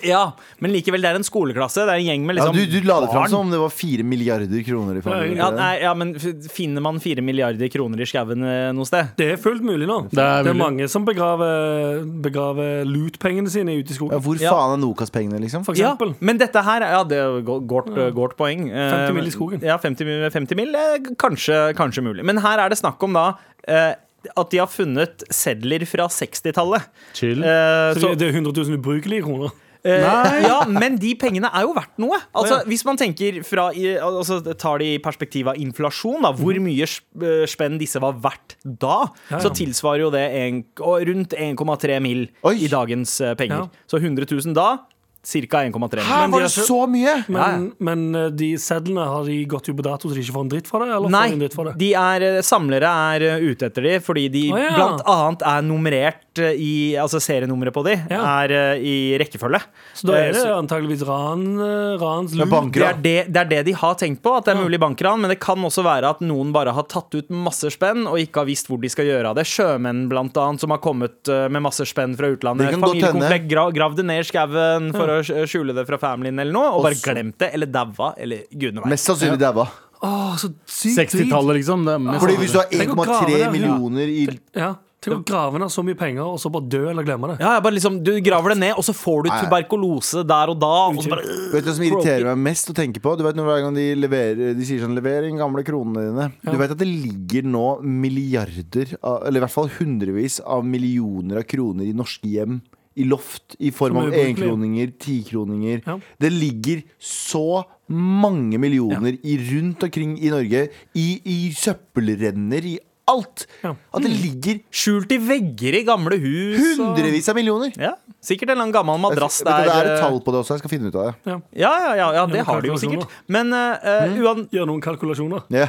Speaker 4: Ja, Men likevel, det er en skoleklasse. Det er en gjeng med
Speaker 5: Ja,
Speaker 4: liksom
Speaker 5: du, du la det fram
Speaker 4: barn.
Speaker 5: som om det var fire milliarder kroner i fondet.
Speaker 4: ja, nei, ja, men f- Finner man fire milliarder kroner i skauen eh, noe sted?
Speaker 3: Det er fullt mulig nå.
Speaker 6: Det er mulig.
Speaker 3: mange som begraver, begraver loot-pengene sine ute i
Speaker 5: Ja,
Speaker 3: skogen,
Speaker 5: hvor
Speaker 4: Ja.
Speaker 5: faen er Nokas-pengene, liksom?
Speaker 3: for
Speaker 4: Ja,
Speaker 3: eksempel.
Speaker 4: men dette her Ja, det er go- godt, godt poeng. Eh,
Speaker 3: 50 mil i skogen.
Speaker 4: Ja, 50, mil- 50 mil, eh, kanskje, kanskje mulig. Men her er det snakk om da eh, at de har funnet sedler fra 60-tallet.
Speaker 6: Chill.
Speaker 4: Eh,
Speaker 3: Så
Speaker 4: så-
Speaker 3: det er 100 000 ubrukelige kroner.
Speaker 4: Eh,
Speaker 6: Nei.
Speaker 4: ja, men de pengene er jo verdt noe. Altså, Hvis man tenker fra i- altså, tar det i perspektiv av inflasjon, da, hvor mye sp- eh, spenn disse var verdt da, så tilsvarer jo det en, og rundt 1,3 mill.
Speaker 5: Oi.
Speaker 4: i dagens eh, penger.
Speaker 3: Ja.
Speaker 4: Så 100 000 da, ca. 1,3 mill.
Speaker 5: Hæ,
Speaker 3: Men de
Speaker 5: var det
Speaker 3: har-
Speaker 5: så mye?
Speaker 3: Men, men eh, de sedlene, har de gått jo på dato så de ikke får en dritt for det? Eller får de en
Speaker 4: Nei,
Speaker 3: dritt for det?
Speaker 4: de er, samlere er eh, ute etter de fordi de
Speaker 3: Å, ja.
Speaker 4: blant annet er nummerert eh, i Altså serienummeret på de
Speaker 3: Ja.
Speaker 4: er eh, i rekkefølge.
Speaker 3: Så da
Speaker 4: Eh,
Speaker 3: er det antageligvis ran, eh, rans
Speaker 5: Men
Speaker 3: lurt.
Speaker 5: banker,
Speaker 4: Det
Speaker 5: da.
Speaker 4: er det, det er det de har tenkt på, at det er mulig bankran. Men det kan også være at noen bare har tatt ut masse spenn og ikke har visst hvor de skal gjøre av det. Sjømenn, blant annet, som har kommet eh, med masse spenn fra
Speaker 5: Det
Speaker 4: utlandet.
Speaker 5: kan godt hende.
Speaker 4: Familiekomplett gra gravd det ned i skauen for å skjule det fra familien eller noe, og bare glemt det, eller daua, eller gudene veit.
Speaker 5: Mest sannsynlig daua.
Speaker 3: Åh, så sykt dritt.
Speaker 6: 60-tallet, liksom. Det er mest
Speaker 5: Fordi hvis du har
Speaker 3: Tenk å grave
Speaker 5: 1,3
Speaker 3: der.
Speaker 5: millioner i
Speaker 3: Ja. Tenk å grave ned så mye penger, og så bare dø eller glemme det.
Speaker 4: Ja, ja, bare liksom, Du graver det ned, og så får du
Speaker 5: Nei.
Speaker 4: tuberkulose der og da. Og så bare,
Speaker 5: Vet du hva som irriterer meg mest å tenke på? Du vet når Hver gang de, leverer, de sier sånn 'lever inn gamle kronene dine' Du vet at det ligger nå milliarder, av, eller i hvert fall hundrevis av millioner av kroner i norske hjem. I loft, i form
Speaker 3: Som
Speaker 5: av
Speaker 3: er ubrukelig.
Speaker 5: enkroninger, tikroninger.
Speaker 3: Ja.
Speaker 5: Det ligger så mange millioner i, rundt omkring i Norge. I, i søppelrenner, i alt.
Speaker 3: Ja.
Speaker 5: At det ligger
Speaker 4: Skjult i vegger i gamle
Speaker 3: Mm.
Speaker 4: hus. og-
Speaker 5: hundrevis av millioner!
Speaker 4: Ja, Sikkert en eller annen gammel
Speaker 5: Jeg,
Speaker 4: madrass
Speaker 5: vet du, det er
Speaker 4: eh,
Speaker 5: et tall på det også. Jeg skal finne ut av det.
Speaker 3: Ja.
Speaker 4: Ja, ja, ja, ja det
Speaker 3: men
Speaker 4: har de jo
Speaker 3: kalkulasjoner.
Speaker 4: sikkert. Men eh, uan,
Speaker 3: Gjør noen kalkulasjoner.
Speaker 5: Ja.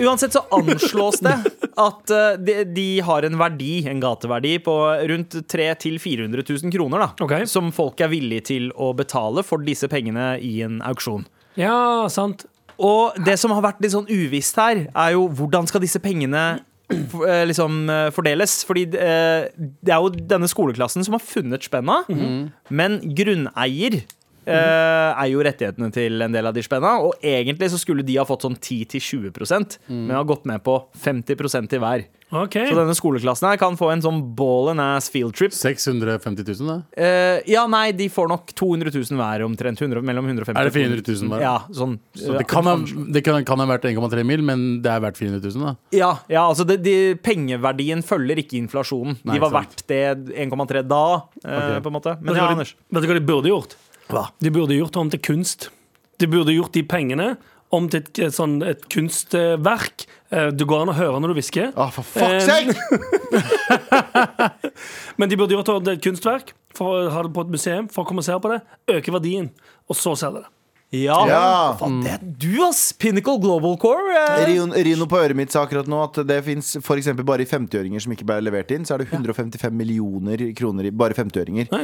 Speaker 4: Uansett så anslås det at eh, de, de har en verdi, en gateverdi, på rundt 300 000-400 000 kroner, da.
Speaker 3: Ok.
Speaker 4: Som folk er villige til å betale for disse pengene i en auksjon.
Speaker 3: Ja, sant.
Speaker 4: Og det som har vært litt sånn uvisst her, er jo hvordan skal disse pengene f- eh, liksom eh, fordeles? Fordi eh, det er jo denne skoleklassen som har funnet spenna,
Speaker 6: Mhm.
Speaker 4: men grunneier eh, er jo rettighetene til en del av de spenna, og egentlig så skulle de ha fått sånn 10-20
Speaker 6: Mhm.
Speaker 4: men har gått ned på 50 til hver.
Speaker 3: OK.
Speaker 4: Så denne skoleklassen her kan få en sånn ball and ass field trip.
Speaker 6: 650 000, det.
Speaker 4: Eh, ja, nei, de får nok 200 000 hver, omtrent. 100, mellom 150
Speaker 6: Er det 400 000 bare?
Speaker 4: Ja, sånn.
Speaker 6: Så det kan ha, det kan, kan ha vært 1,3 mil, men det er verdt 400 000, da.
Speaker 4: Ja, ja altså det, de, pengeverdien følger ikke inflasjonen.
Speaker 6: Nei,
Speaker 4: de var
Speaker 6: sant.
Speaker 4: verdt det 1,3 da, eh,
Speaker 6: Ok.
Speaker 4: på en måte.
Speaker 3: Vet
Speaker 4: Men
Speaker 3: du
Speaker 4: ja,
Speaker 3: hva de-
Speaker 4: Anders.
Speaker 3: Vet du hva de burde gjort?
Speaker 4: Hva?
Speaker 3: De burde gjort det om til kunst. De burde gjort de pengene om til et, et, sånn, et kunstverk. Eh, Det går an å høre når du hvisker.
Speaker 5: Ah, for fuck's
Speaker 3: Eh,
Speaker 5: sake!
Speaker 3: Men de burde gjort det om til et kunstverk, for å ha det på et museum, for å komme og se på det, øke verdien, og så selge det.
Speaker 4: Ja,
Speaker 5: Ja.
Speaker 4: Faen, det er du, ass! Pinnacle Global Core. Eh.
Speaker 5: Rino, Rino på øret mitt sa akkurat nå at det fins f.eks. bare i 50-øringer som ikke ble levert inn, så er det 155 millioner kroner i bare 50-øringer. Eh,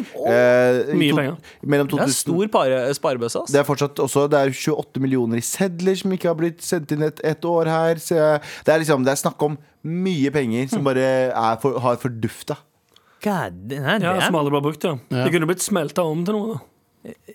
Speaker 5: i
Speaker 3: Mye
Speaker 5: to-
Speaker 3: penger.
Speaker 5: Mellom
Speaker 4: Det er
Speaker 5: 2000
Speaker 4: stor pare, eh, sparebøsse, ass.
Speaker 5: det er fortsatt også Det er 28 millioner i sedler som ikke har blitt sendt inn et, et år her. Så jeg- det er liksom Det er snakk om mye penger
Speaker 4: Mm.
Speaker 5: som bare er for, har fordufta.
Speaker 4: God, nei, det
Speaker 3: Ja,
Speaker 4: er,
Speaker 3: som aldri ble brukt, ja.
Speaker 6: Ja.
Speaker 3: Det kunne blitt smelta om til noe. da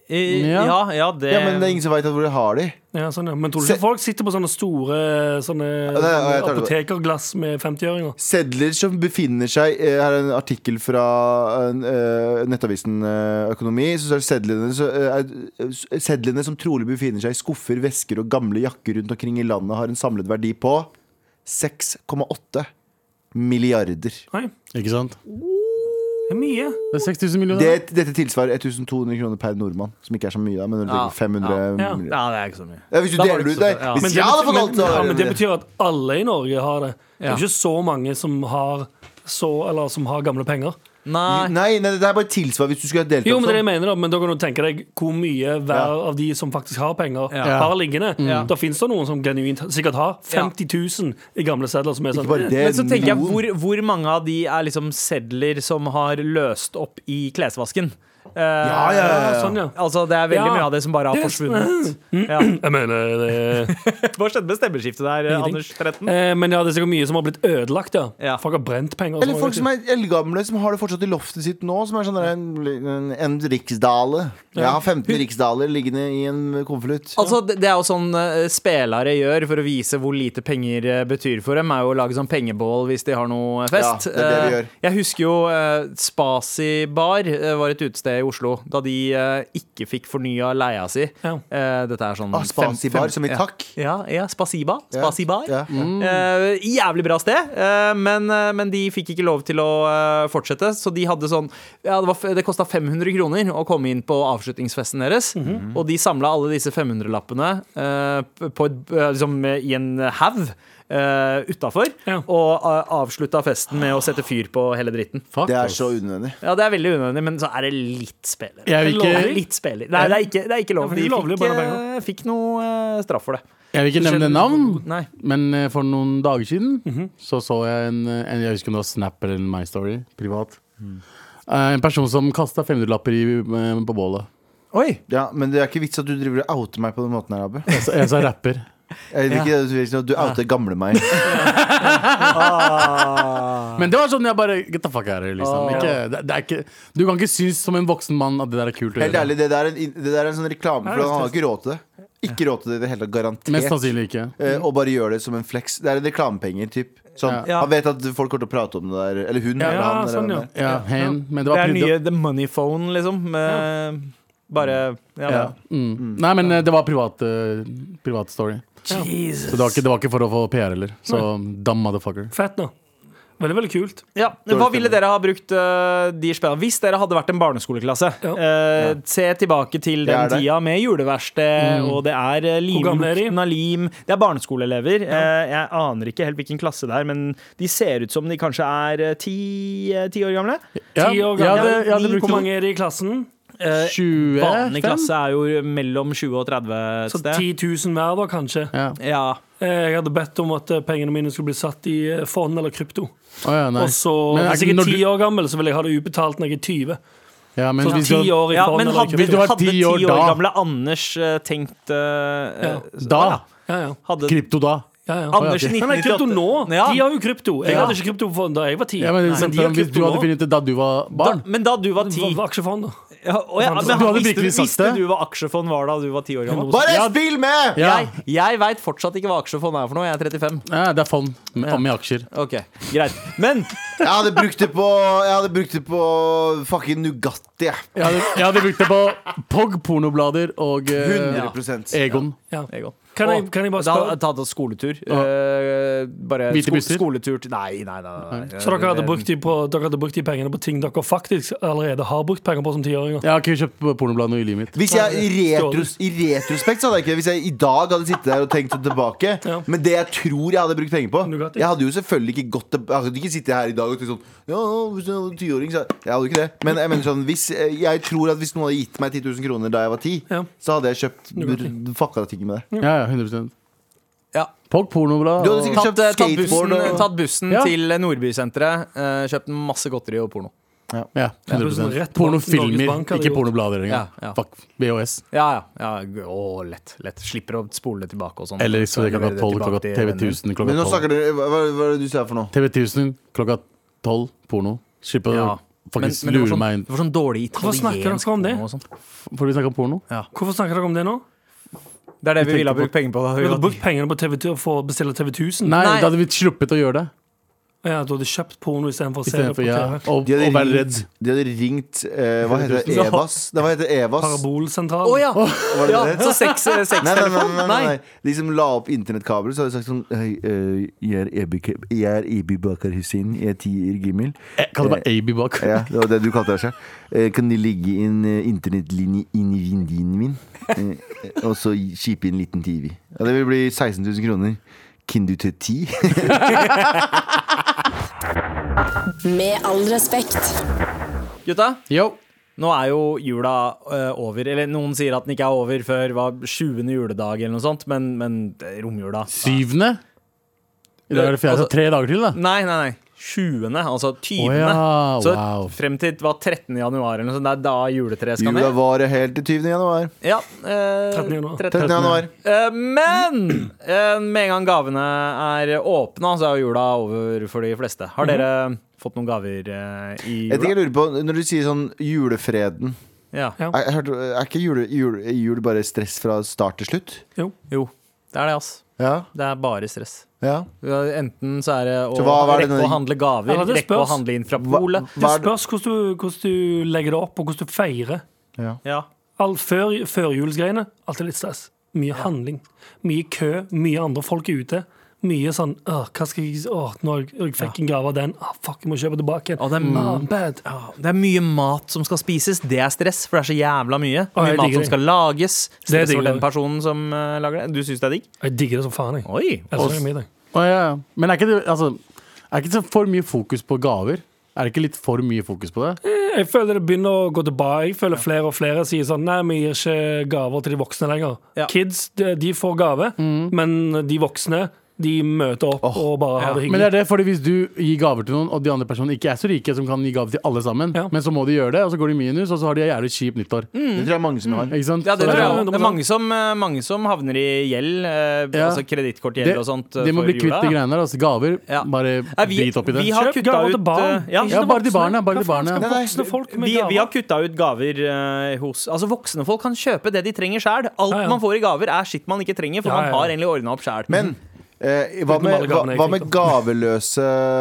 Speaker 4: eh,
Speaker 6: Ja.
Speaker 4: ja, ja, det,
Speaker 5: Ja, men det er ingen som veit hvor de har de.
Speaker 3: ja, sånn, ja. Men tror du ikke
Speaker 5: Se-
Speaker 3: folk sitter på sånne store sånne
Speaker 5: det er- jeg tar det.
Speaker 3: apotekerglass med 50-øringer?
Speaker 5: Sedler som befinner seg eh, Her er en artikkel fra eh, nettavisen eh, Økonomi. Så står det sedlene, så, eh, er- sedlene som trolig befinner seg i skuffer, vesker og gamle jakker rundt omkring i landet, har en samlet verdi på 6,8 milliarder.
Speaker 3: Nei,
Speaker 6: Ikke sant?
Speaker 3: det er mye.
Speaker 6: Det er 6000 millioner.
Speaker 5: Det, dette tilsvarer 1200 kroner per nordmann, som ikke er så mye, da. Men når du
Speaker 4: Ja,
Speaker 5: tenker 500
Speaker 3: ja, ja.
Speaker 5: millioner.
Speaker 4: ja, det er ikke så mye.
Speaker 5: Ja, Hvis du
Speaker 4: Da var
Speaker 5: deler
Speaker 4: det
Speaker 5: ut
Speaker 4: ikke
Speaker 5: det
Speaker 4: så- ja.
Speaker 5: Hvis
Speaker 3: Men det,
Speaker 5: jeg hadde
Speaker 3: betyr,
Speaker 5: fått alt,
Speaker 3: men,
Speaker 5: så
Speaker 3: ja, men det
Speaker 5: hadde jeg-
Speaker 3: betyr at alle i Norge har det. Det
Speaker 4: Ja.
Speaker 3: er ikke så mange som har, så, eller, som har gamle penger.
Speaker 4: Nei.
Speaker 5: Nei, nei, det er bare tilsvar hvis du skulle ha delt
Speaker 3: Jo, men det er det
Speaker 5: sånn.
Speaker 3: jeg mener da Men da kan du tenke deg hvor mye hver av de som faktisk har penger,
Speaker 4: Ja.
Speaker 3: har liggende.
Speaker 4: Ja.
Speaker 3: Da finnes det noen som genuint sikkert har 50 000 i gamle sedler. Som er sånn,
Speaker 5: Ikke bare det.
Speaker 4: Men så tenker jeg,
Speaker 5: noen-
Speaker 4: hvor, hvor mange av de er liksom sedler som har løst opp i klesvasken? Eh,
Speaker 5: Ja, ja, ja, ja.
Speaker 3: Sånn, ja.
Speaker 4: Altså, det er sånn. veldig
Speaker 3: Ja.
Speaker 4: mye av det som bare har forsvunnet. Ja.
Speaker 3: Jeg mener det
Speaker 4: Hva skjedde med stemmeskiftet der,
Speaker 3: Ingenting.
Speaker 4: Anders 13?
Speaker 6: Mm.
Speaker 3: eh, Men ja, det er sikkert mye som har blitt ødelagt, ja.
Speaker 4: Ja.
Speaker 3: Folk har brent penger. og
Speaker 5: Eller
Speaker 3: sånn,
Speaker 5: folk
Speaker 3: vet
Speaker 5: som er eldgamle, som har det fortsatt i loftet sitt nå. Som er sånn der, en, en, en riksdale. Jeg har 15 riksdaler liggende i en konvolutt.
Speaker 4: Altså, det, det er jo sånn eh, spelere gjør for å vise hvor lite penger eh, betyr for dem, er jo å lage sånn pengebål hvis de har noe fest.
Speaker 5: Ja, det er det de
Speaker 4: Eh,
Speaker 5: gjør.
Speaker 4: jeg husker jo eh, Spasi Bar eh, var et utested i Oslo da de eh, ikke fikk fornya leia si.
Speaker 3: Ja.
Speaker 4: Eh, dette er sånn
Speaker 5: Ah,
Speaker 4: fem-
Speaker 5: Spasibar,
Speaker 4: fem-
Speaker 5: som i
Speaker 4: ja.
Speaker 5: takk.
Speaker 4: Ja, ja Spasiba.
Speaker 5: Ja,
Speaker 4: Spasibar.
Speaker 5: ja.
Speaker 3: Mm.
Speaker 4: Eh, jævlig bra sted, eh, men, eh, men de fikk ikke lov til å eh, fortsette, så de hadde sånn ja, Det, var f- det kosta 500 kroner å komme inn på avslutningsfesten deres.
Speaker 3: Mhm.
Speaker 4: Og de samla alle disse 500-lappene eh, p- på et, eh, liksom, eh, i en haug. Uh, Utafor.
Speaker 3: Ja.
Speaker 4: Og eh, avslutta festen med å sette fyr på hele dritten.
Speaker 6: Fuck,
Speaker 5: Det er
Speaker 6: ass.
Speaker 5: så unødvendig.
Speaker 4: Ja, Det er veldig unødvendig, men så er det litt speler.
Speaker 6: Jeg vil
Speaker 4: Det er
Speaker 6: ikke,
Speaker 4: Litt speler. Nei, det er ikke, det er ikke lov.
Speaker 3: Ja, for
Speaker 4: De
Speaker 3: det er lovlig å
Speaker 4: fikk,
Speaker 3: bære
Speaker 4: eh, fikk noe eh, straff for det.
Speaker 6: jeg vil ikke nevne navn,
Speaker 4: Nei.
Speaker 6: men eh, for noen dager siden så så jeg en, eh, en Jeg husker om det var Snap eller en My Story, privat. Eh, En person som kasta 500-lapper i, eh, på bålet.
Speaker 4: Oi!
Speaker 5: Ja, men det er ikke vits at du driver og outer meg på den måten her, Abu.
Speaker 6: Jeg sa- Jeg sa rapper.
Speaker 5: Jeg vil ikke det du, du outer gamle meg.
Speaker 6: Men det var sånn jeg bare Get the fuck out of here, liksom.
Speaker 4: Åh.
Speaker 6: Ikke, det, det er ikke, du kan ikke synes som en voksen mann at det der er kult å
Speaker 5: Helt
Speaker 6: gjøre.
Speaker 5: ærlig, det der er en, det der er en sånn reklame, for han har ikke råd til det. Ikke råd til det i det hele tatt,
Speaker 6: Mest
Speaker 5: garantert.
Speaker 6: sannsynlig ikke.
Speaker 5: Eh, og bare gjør det som en flex. Det er en reklamepenger, typ. Sånn,
Speaker 4: Ja.
Speaker 5: Han vet at folk kommer til å prate om det der. Eller hun.
Speaker 3: Ja,
Speaker 5: eller han, eller
Speaker 3: sånn,
Speaker 5: hvem
Speaker 3: ja.
Speaker 5: det er.
Speaker 6: Ja, hen, men det
Speaker 4: Det
Speaker 6: var
Speaker 4: er
Speaker 6: pryd-
Speaker 4: nye The Money Phone, liksom. Med Bare ja,
Speaker 6: ja. mm. Nei, men eh, det var privat, eh, privat story.
Speaker 4: Jesus.
Speaker 6: Så det var, ikke, det var ikke for å få PR heller. Så dumb motherfucker.
Speaker 3: Fett nå. Veldig, veldig kult.
Speaker 4: Ja, Hva ville dere ha brukt eh, de spennene Hvis dere hadde vært en barneskoleklasse.
Speaker 3: Ja.
Speaker 4: eh, se tilbake til
Speaker 5: Det er
Speaker 4: den
Speaker 5: det.
Speaker 4: tida med juleverksted, og det er eh,
Speaker 3: Mm. gamle er de?
Speaker 4: limlukten av lim. Det er barneskoleelever. Eh, jeg aner ikke helt hvilken klasse det er, men de ser ut som de kanskje er eh, ti, eh, ti år gamle.
Speaker 6: Ja,
Speaker 3: Ti år
Speaker 6: jeg hadde,
Speaker 3: gammel.
Speaker 6: jeg hadde
Speaker 3: Hvor
Speaker 6: brukt
Speaker 3: mange er det i klassen?
Speaker 4: Eh, Vanlig
Speaker 6: 25.
Speaker 4: klasse er jo mellom 20 og 30 et
Speaker 3: Så
Speaker 4: sted.
Speaker 3: 10 000 hver, da, kanskje.
Speaker 6: Ja.
Speaker 4: Ja.
Speaker 3: Eh, Jeg hadde bedt om at eh, pengene mine skulle bli satt i eh, fond eller krypto.
Speaker 6: Å ja, nei.
Speaker 3: Og så,
Speaker 6: Men er
Speaker 3: Hvis jeg
Speaker 6: ikke
Speaker 3: er
Speaker 6: når du-
Speaker 3: ti år gammel, så vil jeg ha det utbetalt når jeg er 20.
Speaker 6: Ja, men
Speaker 3: Så
Speaker 6: hvis
Speaker 3: ti
Speaker 6: du,
Speaker 3: år i
Speaker 4: ja,
Speaker 3: fond
Speaker 4: men
Speaker 3: eller
Speaker 4: hadde,
Speaker 3: krypto.
Speaker 6: Hvis du var
Speaker 4: hadde
Speaker 6: ti
Speaker 4: ti
Speaker 6: år
Speaker 4: år,
Speaker 6: da-
Speaker 4: gamle Anders eh, tenkt eh,
Speaker 3: Ja.
Speaker 4: eh,
Speaker 6: da!
Speaker 3: Ja, ja.
Speaker 4: Hadde
Speaker 6: Krypto da.
Speaker 3: ja, ja.
Speaker 4: Anders i
Speaker 3: Nei, men krypto
Speaker 4: 1998
Speaker 3: nå!
Speaker 4: Ja.
Speaker 3: De har jo krypto. Jeg
Speaker 6: Ja.
Speaker 3: hadde ikke krypto for- da jeg var ti.
Speaker 6: Ja, men, liksom,
Speaker 3: de har
Speaker 6: hvis du
Speaker 3: krypto
Speaker 6: hadde
Speaker 3: nå.
Speaker 6: funnet ut da du var
Speaker 4: da,
Speaker 6: barn
Speaker 4: men da du var ti
Speaker 3: Hva- hva- Aksjefond, da.
Speaker 4: ja, å ja,
Speaker 6: Du
Speaker 4: men
Speaker 6: hadde
Speaker 4: han visste,
Speaker 6: virkelig sagt
Speaker 4: visste
Speaker 6: det.
Speaker 4: du hva aksjefond var da du var ti år gammel?
Speaker 5: Bare
Speaker 6: Ja.
Speaker 5: spill med!
Speaker 6: ja.
Speaker 4: Jeg, jeg veit fortsatt ikke hva aksjefond er for noe. Jeg er 35.
Speaker 6: ja, det er fond med, om i aksjer.
Speaker 4: Ok, Greit. Men
Speaker 5: Jeg hadde brukt det på Jeg hadde brukt det på fucking Nugatti. jeg.
Speaker 6: Jeg hadde, jeg hadde brukt det på Pog, pornoblader og eh,
Speaker 5: 100
Speaker 6: Egon.
Speaker 3: Ja.
Speaker 4: Egon.
Speaker 3: Kan jeg, kan jeg bare
Speaker 4: Da hadde
Speaker 3: spørre
Speaker 4: jeg tatt oss skoletur.
Speaker 6: Ja.
Speaker 4: Eh, bare
Speaker 6: Hvite
Speaker 4: sko
Speaker 6: busser?
Speaker 4: skoletur til Nei, nei, nei. nei, nei.
Speaker 3: Så dere hadde, brukt de på, dere hadde brukt de pengene på ting dere faktisk allerede har brukt penger på som tiåringer?
Speaker 6: Jeg har ikke kjøpt pornoblader i livet mitt.
Speaker 5: Hvis jeg i, retros, I retrospekt så hadde jeg ikke det. Hvis jeg i dag hadde sittet der og tenkt sånn tilbake.
Speaker 3: Ja.
Speaker 5: Men det jeg tror jeg hadde brukt penger på
Speaker 3: Nugatti.
Speaker 5: Jeg hadde jo selvfølgelig ikke gått til- Jeg hadde ikke sittet her i dag og tenkt sånn Ja, hvis jeg var tiåring, så Jeg hadde jo ikke det. Men jeg mener sånn hvis, jeg tror at hvis noen hadde gitt meg 10 000 kroner da jeg var 10,
Speaker 3: Ja.
Speaker 5: så hadde jeg kjøpt fucka ting med det.
Speaker 6: Ja, ja, 100
Speaker 4: Ja.
Speaker 6: Pog, pornoblad
Speaker 5: Du hadde
Speaker 6: og-
Speaker 4: Tatt,
Speaker 5: sikkert kjøpt
Speaker 4: eh, tatt
Speaker 5: skateboard
Speaker 4: bussen,
Speaker 5: og
Speaker 4: tatt bussen
Speaker 6: Ja.
Speaker 4: til Nordbysenteret, eh, kjøpt masse godteri og porno.
Speaker 6: Ja,
Speaker 3: sånn Rett
Speaker 6: 100
Speaker 3: bank- Norges
Speaker 6: Pornofilmer,
Speaker 3: Bank hadde
Speaker 6: ikke
Speaker 3: gjort.
Speaker 6: pornoblader engang.
Speaker 4: Ja, ja.
Speaker 6: Fuck VHS.
Speaker 4: Ja, ja. ja å, lett, lett. Slipper å spole det tilbake og sånn.
Speaker 6: Eller så det klokka
Speaker 4: leverer
Speaker 6: 12,
Speaker 4: tilbake
Speaker 6: klokka
Speaker 4: til
Speaker 6: TV
Speaker 4: venner.
Speaker 6: 1000 klokka
Speaker 5: Men nå
Speaker 6: 12.
Speaker 5: snakker dere Hva, hva, hva er det du sier for noe?
Speaker 6: TV 1000 klokka 12, porno. Slipp å
Speaker 4: Ja. Men,
Speaker 6: faktisk
Speaker 4: men det, var
Speaker 6: lure
Speaker 4: sånn,
Speaker 6: meg inn.
Speaker 4: det var sånn dårlig
Speaker 3: Hvorfor snakker dere
Speaker 4: italiensk
Speaker 3: ikke om det?
Speaker 4: porno og sånn.
Speaker 6: Får vi snakke om porno?
Speaker 3: Hvorfor snakker dere om det nå?
Speaker 4: Det er det vi ville ha brukt penger på. Da.
Speaker 3: Du
Speaker 4: Vi
Speaker 3: hadde
Speaker 4: hadde-
Speaker 3: brukt pengene på TV for å bestille TV 1000?
Speaker 6: Nei,
Speaker 4: Nei.
Speaker 6: da hadde vi sluppet å gjøre det.
Speaker 3: Ja, du hadde kjøpt porno istedenfor å se det
Speaker 6: Istedenfor
Speaker 3: på
Speaker 6: ja,
Speaker 3: TV?
Speaker 6: og, og
Speaker 5: De hadde
Speaker 6: være redd.
Speaker 5: ringt, de hadde ringt eh, Hva heter det? Evas? Nei, hva heter det? Evas?
Speaker 4: Å
Speaker 3: Parabolsentralen.
Speaker 4: ja!
Speaker 5: Var det
Speaker 4: ja
Speaker 5: det det het?
Speaker 4: så seks, eh,
Speaker 5: Nei, nei, nei,
Speaker 4: sekstelefon?
Speaker 5: nei, nei, nei. De som la opp internettkabel, så hadde de sagt sånn Hei, eh, jeg er Ebi, jeg er Ebi Bakar Hussein, jeg er ti år gammel.
Speaker 6: Jeg kaller meg AB bak.
Speaker 5: Ja, det var det du kalte deg selv. Eh, Kan de legge en eh, internettlinje inn i vinduene min? Eh, Og så skipe inn en liten TV. Ja, det vil bli 16 000 kroner. Kan du til ti?
Speaker 7: Med all respekt.
Speaker 4: Gutta,
Speaker 6: Yo.
Speaker 4: nå er jo jula eh, over. Eller noen sier at den ikke er over før hva, 20. juledag eller noe sånt, men, men eh, romjula
Speaker 6: Syvende? I dag er det fjerde,
Speaker 4: Altså-
Speaker 6: så tre dager til, da.
Speaker 4: Nei, nei, nei. 20., altså 20.
Speaker 6: Å ja,
Speaker 4: Så
Speaker 6: wow.
Speaker 4: frem til hva, 13. januar eller noe sånt. Det er da juletreet skal
Speaker 5: Jula
Speaker 4: ned.
Speaker 5: varer helt til 20. januar.
Speaker 4: Ja, eh,
Speaker 3: 13. januar.
Speaker 5: 13. januar.
Speaker 4: Eh, men eh, med en gang gavene er åpna, så er jo jula over for de fleste. Har dere fått noen gaver eh, i
Speaker 5: Jeg
Speaker 4: jula?
Speaker 5: tenker jeg lurer på, når du sier sånn julefreden
Speaker 4: Ja.
Speaker 3: Ja.
Speaker 5: Er, er, er ikke jul, jul, jul bare stress fra start til slutt?
Speaker 4: Jo, det er det, ass.
Speaker 5: Ja,
Speaker 4: Det er bare stress.
Speaker 5: ja.
Speaker 4: Enten så er det å
Speaker 5: Så hva- hva er det
Speaker 4: rekke
Speaker 5: denne-
Speaker 4: å handle gaver,
Speaker 3: Ja, det
Speaker 4: rekke å
Speaker 3: spørs.
Speaker 4: handle inn fra
Speaker 5: Hva-
Speaker 4: polet.
Speaker 3: Det
Speaker 5: hva er det-
Speaker 3: spørs hvordan du, hvordan du legger det opp, og hvordan du feirer.
Speaker 4: Ja.
Speaker 3: All før, førjulsgreiene, alltid litt stress. Mye handling. Mye kø, mye andre folk er ute. mye sånn Åh, hva skal jeg Åh, nå jeg fikk en gave av den. Åh, fuck, jeg må kjøpe tilbake igjen.
Speaker 4: Å, det er
Speaker 3: Ah,
Speaker 4: mye-
Speaker 3: bad.
Speaker 4: Det er mye mat som skal spises. Det er stress, for det er så jævla mye.
Speaker 3: Å, jeg
Speaker 4: Mye mat
Speaker 3: digger
Speaker 4: som
Speaker 3: det.
Speaker 4: skal lages.
Speaker 3: Det
Speaker 4: Stress
Speaker 3: digger
Speaker 4: for den
Speaker 3: jeg.
Speaker 4: personen som eh, lager det. Du syns det er digg?
Speaker 3: Jeg digger det som faen, jeg.
Speaker 4: Oi!
Speaker 3: Elsker det middag.
Speaker 6: Å, ja, ja. Men er ikke det altså, er ikke det for mye fokus på gaver? Er det ikke litt for mye fokus på det?
Speaker 3: Jeg føler det begynner å gå tilbake. Jeg føler flere og flere sier sånn Nei, vi gir ikke gaver til de voksne lenger.
Speaker 4: Ja.
Speaker 3: Kids, de, de får gave,
Speaker 6: Mm.
Speaker 3: men de voksne, de møter opp og bare har det
Speaker 6: Men
Speaker 3: hyggelig.
Speaker 6: det er det, fordi Hvis du gir gaver til noen, og de andre personene ikke er så rike, som kan gi gaver til alle sammen,
Speaker 3: Ja.
Speaker 6: men så må de gjøre det, og så går de i minus, og så har de et jævlig kjipt nyttår.
Speaker 5: Det tror jeg mange som har.
Speaker 6: Ikke sant?
Speaker 4: Mm. Ja, det
Speaker 6: Så
Speaker 4: tror
Speaker 6: sånn-
Speaker 4: jeg også.
Speaker 3: det-
Speaker 4: Det er mange som, eh, mange som havner i gjeld. eh,
Speaker 6: Ja.
Speaker 4: Altså
Speaker 6: det,
Speaker 4: kredittkortgjeld og sånt. eh,
Speaker 6: de må
Speaker 4: for
Speaker 6: bli kvitt
Speaker 4: jula,
Speaker 6: de
Speaker 4: ja.
Speaker 6: greiene der. Altså, gaver,
Speaker 4: Ja.
Speaker 6: bare
Speaker 4: Nei, vi-
Speaker 6: drit opp i det.
Speaker 4: vi har
Speaker 3: Kjøp
Speaker 4: kutta
Speaker 3: gaver til
Speaker 4: ut,
Speaker 3: barn.
Speaker 4: eh, ja.
Speaker 3: Ikke
Speaker 6: Ja,
Speaker 3: til
Speaker 6: bare til
Speaker 3: voksne.
Speaker 6: barna, bare
Speaker 3: Hva
Speaker 6: til
Speaker 3: faen
Speaker 6: barna.
Speaker 3: skal
Speaker 5: Nei, nei.
Speaker 3: Voksne folk med
Speaker 4: Vi, vi har
Speaker 3: gaver.
Speaker 4: kutta ut gaver eh, hos Altså Voksne folk kan kjøpe det de trenger sjæl. Alt
Speaker 3: Ja, ja.
Speaker 4: man får i gaver, er skitt man ikke trenger, for
Speaker 3: Ja,
Speaker 4: man
Speaker 3: ja,
Speaker 4: har
Speaker 3: ja.
Speaker 4: egentlig ordna opp sjæl.
Speaker 5: Men eh, hva,
Speaker 3: Utenom
Speaker 5: med,
Speaker 3: alle
Speaker 5: hva,
Speaker 3: gavene jeg fikk,
Speaker 5: hva med gaveløse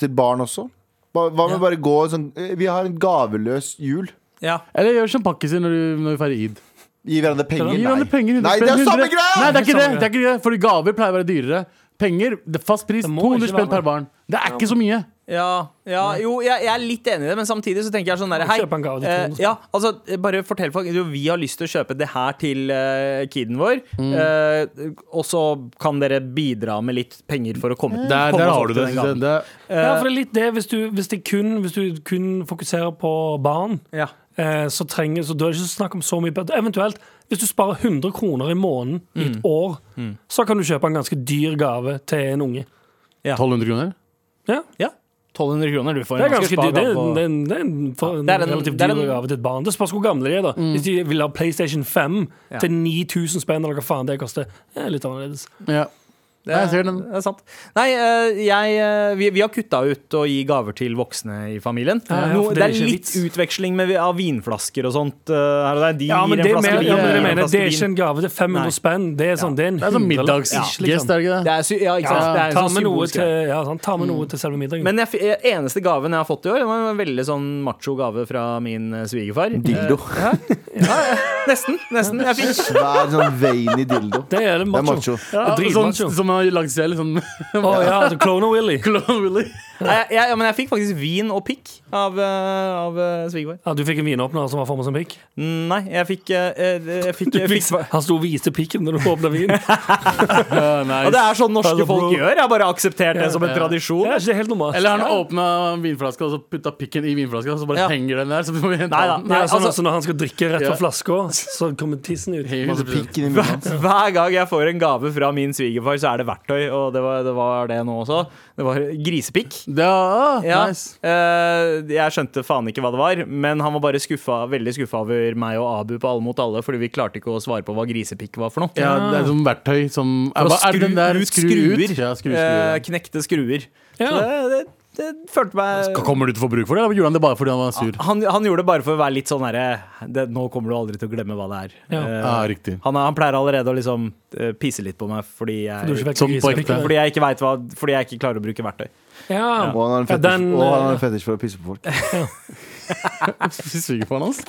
Speaker 5: til barn også? Hva, hva med
Speaker 3: Ja.
Speaker 5: bare gå sånn eh, Vi har en gaveløs jul.
Speaker 4: Ja.
Speaker 6: Eller gjør som pakkiser når, du- når vi feirer id.
Speaker 5: Gi hverandre penger.
Speaker 6: Gi hverandre penger. 100
Speaker 5: Nei, det er
Speaker 6: spenn,
Speaker 5: samme
Speaker 6: 100.
Speaker 5: greia!
Speaker 6: Nei, det er ikke det.
Speaker 3: Samme
Speaker 6: det, er ikke det Fordi gaver pleier å være dyrere. Penger, det er fast pris,
Speaker 3: Det må
Speaker 6: 200
Speaker 3: ikke
Speaker 6: spenn
Speaker 3: være
Speaker 6: per barn. Det er ikke så mye.
Speaker 4: Ja, ja jo, jeg, jeg er litt enig i det, men samtidig så tenker jeg sånn der,
Speaker 3: Må
Speaker 4: Hei,
Speaker 3: kjøpe en gave til
Speaker 4: eh,
Speaker 3: noen som-
Speaker 4: ja, altså, eh, bare fortell folk jo, Vi har lyst til å kjøpe det her til eh, kiden vår, eh, og så kan dere bidra med litt penger for å komme
Speaker 6: Mm. Der,
Speaker 4: komme
Speaker 6: der
Speaker 4: oss
Speaker 6: har
Speaker 4: opp
Speaker 6: du
Speaker 4: til
Speaker 6: det.
Speaker 4: den
Speaker 6: synes
Speaker 4: gaven.
Speaker 6: jeg. det
Speaker 3: Ja,
Speaker 6: eh,
Speaker 3: for det er litt det. Hvis du, hvis det kun, hvis du kun fokuserer på barn,
Speaker 4: Ja.
Speaker 3: eh, så trenger så da er det ikke snakk om så mye bedre. Eventuelt, hvis du sparer 100 kroner i måneden
Speaker 6: Mm.
Speaker 3: i et år, så kan du kjøpe en ganske dyr gave til en unge.
Speaker 6: er 1200 kroner.
Speaker 3: Ja,
Speaker 4: Ja. 1200 kroner du får.
Speaker 3: Det er ganske dyr. Det,
Speaker 4: det,
Speaker 3: er- det, er en- det er en, for,
Speaker 4: det er en-
Speaker 3: en Mm. relativt
Speaker 4: det er en-
Speaker 3: dyr gave til et barn. Det spørs hvor gamle de er. da Hvis de vil ha PlayStation 5
Speaker 4: Ja.
Speaker 3: til 9000 spenn, eller hva faen det koster, det er litt annerledes.
Speaker 6: Ja. Nei, jeg ser den.
Speaker 4: det er sant. Nei, eh, jeg, eh, vi, vi har kutta ut å gi gaver til voksne i familien.
Speaker 3: Ja, ja,
Speaker 4: Noe-
Speaker 3: for
Speaker 4: det er
Speaker 3: det er ikke
Speaker 4: litt
Speaker 3: vits.
Speaker 4: utveksling med, av vinflasker og sånt. eh, her og der. De
Speaker 3: Ja, men
Speaker 4: gir
Speaker 3: det,
Speaker 4: en flaske
Speaker 3: mener,
Speaker 4: vin.
Speaker 3: ja, men
Speaker 4: jeg gir
Speaker 3: jeg
Speaker 4: en
Speaker 3: mener,
Speaker 4: flaske
Speaker 3: det er ikke
Speaker 4: vin.
Speaker 3: en gave til 500
Speaker 4: Nei.
Speaker 3: spenn. Det er sånn, det er en
Speaker 6: Det er sånn
Speaker 3: hundrelapp,
Speaker 6: middagsgest,
Speaker 3: ish, liksom.
Speaker 6: er det ikke
Speaker 4: Det
Speaker 6: det?
Speaker 4: er, sy- ja, ikke
Speaker 3: Ja,
Speaker 4: sant? Det er en
Speaker 3: ta
Speaker 4: sånn
Speaker 3: med noe
Speaker 4: symbolsk
Speaker 3: til,
Speaker 4: greie.
Speaker 3: ja, sant, ta med noe til selve middagen.
Speaker 4: Men jeg, f- eh, eneste gaven jeg har fått i år, det var en veldig sånn macho gave fra min eh, svigerfar.
Speaker 5: Dildo.
Speaker 4: Nesten. nesten, jeg fikk
Speaker 5: Svær sånn veiny dildo.
Speaker 3: det er det
Speaker 5: Det er
Speaker 3: macho.
Speaker 5: macho.
Speaker 6: Ja,
Speaker 3: Ja,
Speaker 6: sånn,
Speaker 3: dritmacho.
Speaker 6: som man har lagd selv. Sånn.
Speaker 3: Å ja, altså Clone og Willy.
Speaker 6: Clone Willy.
Speaker 4: Nei, jeg, ja, men jeg fikk faktisk vin og pikk av, eh, av eh, svigerfar. Mm,
Speaker 3: Ja, du fikk en vinåpner som var formet som pikk?
Speaker 4: Nei, jeg fikk, eh, eh, jeg fikk, jeg fikk
Speaker 3: Han sto og viste pikken når du åpna vin. Det
Speaker 4: Og det er sånn norske folk gjør. Jeg har bare akseptert det som en
Speaker 3: er
Speaker 4: tradisjon.
Speaker 3: ikke helt normalt.
Speaker 6: Eller han åpna vinflaska og så putta pikken i vinflaska, og så bare
Speaker 4: Ja.
Speaker 6: henger den der. Så må vi hente
Speaker 4: Nei da.
Speaker 6: den.
Speaker 3: Ja, sånn
Speaker 4: altså-
Speaker 3: altså, når han skal drikke rett
Speaker 6: Ja.
Speaker 3: fra flaska, så kommer tissen ut.
Speaker 6: Helt
Speaker 5: Masse
Speaker 6: 100%.
Speaker 5: pikk i munnen hans.
Speaker 4: Hver gang jeg får en gave fra min svigerfar, så er det verktøy, og det var det, var det nå også. Det var grisepikk.
Speaker 6: Det er,
Speaker 4: Ja.
Speaker 6: ah, nice.
Speaker 4: eh, jeg skjønte faen ikke hva det var, men han var bare skuffa, veldig skuffa over meg og Abu på Alle mot alle, fordi vi klarte ikke å svare på hva grisepikk var for noe.
Speaker 6: ja, det er sånn verktøy som
Speaker 4: For å
Speaker 6: Hva er det den der?
Speaker 4: skru ut skruer.
Speaker 6: Ja, skru, skruer.
Speaker 4: Eh, knekte skruer. Så
Speaker 3: Ja.
Speaker 4: det, det, det følte meg
Speaker 6: Kommer du til å få bruk for det, eller gjorde han det bare fordi han var sur?
Speaker 4: han, han gjorde det bare for å være litt sånn herre det- Nå kommer du aldri til å glemme hva det er.
Speaker 3: Ja.
Speaker 4: Eh,
Speaker 6: Ja, riktig.
Speaker 4: han, er- han pleier allerede å liksom eh, pisse litt på meg fordi jeg,
Speaker 3: Du er ikke vekk
Speaker 6: Som
Speaker 3: i
Speaker 6: på
Speaker 3: grisepikken.
Speaker 6: ekte.
Speaker 4: fordi jeg ikke vet hva Fordi jeg ikke klarer å bruke verktøy.
Speaker 3: Ja.
Speaker 5: Og han har en
Speaker 3: Ja,
Speaker 5: fetisj,
Speaker 3: den,
Speaker 5: og han har en
Speaker 3: eh,
Speaker 5: fetisj for å pisse på folk.
Speaker 6: Svigerfaren hans?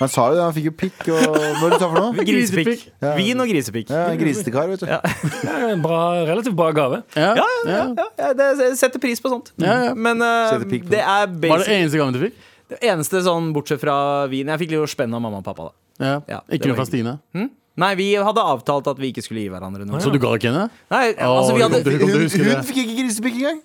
Speaker 5: Han sa jo det, han fikk jo pikk og Hva er det du sa for noe?
Speaker 4: Grisepikk.
Speaker 5: Ja.
Speaker 4: Vin og grisepikk.
Speaker 5: Ja, en grisetekar, vet du.
Speaker 3: Ja, en bra, relativt bra gave.
Speaker 6: Ja, ja, ja.
Speaker 4: Ja, jeg, det, jeg setter pris på sånt.
Speaker 6: Ja, ja.
Speaker 4: Men eh,
Speaker 5: Setter pikk på
Speaker 4: det er
Speaker 6: Var det
Speaker 4: basic.
Speaker 6: eneste gangen du fikk?
Speaker 4: Det eneste sånn, bortsett fra vin Jeg fikk litt spenn av mamma og pappa, da.
Speaker 6: Ja.
Speaker 4: Ja, det
Speaker 6: Ikke noe
Speaker 4: var
Speaker 6: fra Stine?
Speaker 4: Nei, vi hadde avtalt at vi ikke skulle gi hverandre noe.
Speaker 6: Så du ga ikke henne?
Speaker 4: Nei, altså,
Speaker 6: Å,
Speaker 4: vi
Speaker 6: det kom
Speaker 4: hadde,
Speaker 6: til-
Speaker 5: Hun,
Speaker 6: du
Speaker 5: hun
Speaker 6: huske det?
Speaker 5: fikk ikke grisepikk engang!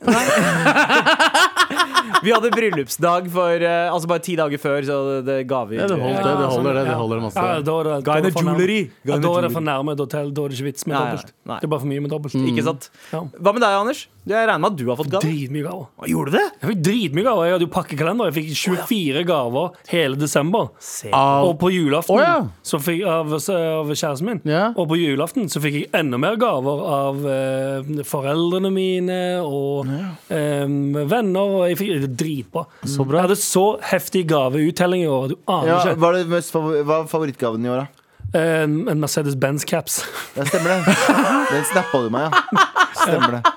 Speaker 4: vi hadde bryllupsdag for eh, Altså bare ti dager før, så det, det ga vi
Speaker 6: Ja, det holdt det, det holder det.
Speaker 3: altså,
Speaker 6: det
Speaker 3: ja.
Speaker 6: holder masse.
Speaker 3: Ja, da er det, da er
Speaker 4: Guy
Speaker 3: det for
Speaker 4: in the
Speaker 3: nærme.
Speaker 4: jewelry. Guy in the
Speaker 3: Ja, da er det
Speaker 4: jewelry.
Speaker 3: for nærme et hotell. Da er det ikke vits med
Speaker 4: Nei, nei,
Speaker 3: dobbelt.
Speaker 4: nei.
Speaker 3: Det er bare for mye med dobbelt.
Speaker 6: Mm.
Speaker 4: Ikke sant?
Speaker 3: Ja.
Speaker 4: Hva med deg, Anders? Jeg regner med at du har fått gave.
Speaker 3: Dritmye gaver.
Speaker 4: Å, Gjorde du det?
Speaker 3: Jeg fikk dritmye gaver. Jeg hadde jo pakkekalender. Jeg fikk 24 gaver hele desember.
Speaker 6: Av-
Speaker 3: Og på julaften
Speaker 6: Å, ja.
Speaker 3: så fikk, av, av kjæresten min.
Speaker 6: Ja.
Speaker 3: Og på julaften så fikk jeg enda mer gaver av eh, foreldrene mine og eh, venner. Og jeg fikk det er dritbra.
Speaker 6: Så bra.
Speaker 3: Jeg hadde så heftig gaveuttelling i år. Du aner
Speaker 5: Ja,
Speaker 3: ikke.
Speaker 5: hva er det mest favor- hva er favorittgaven i år, da?
Speaker 3: En, en Mercedes Benz caps.
Speaker 5: Ja, stemmer det. Den snappa du meg, ja. Stemmer det.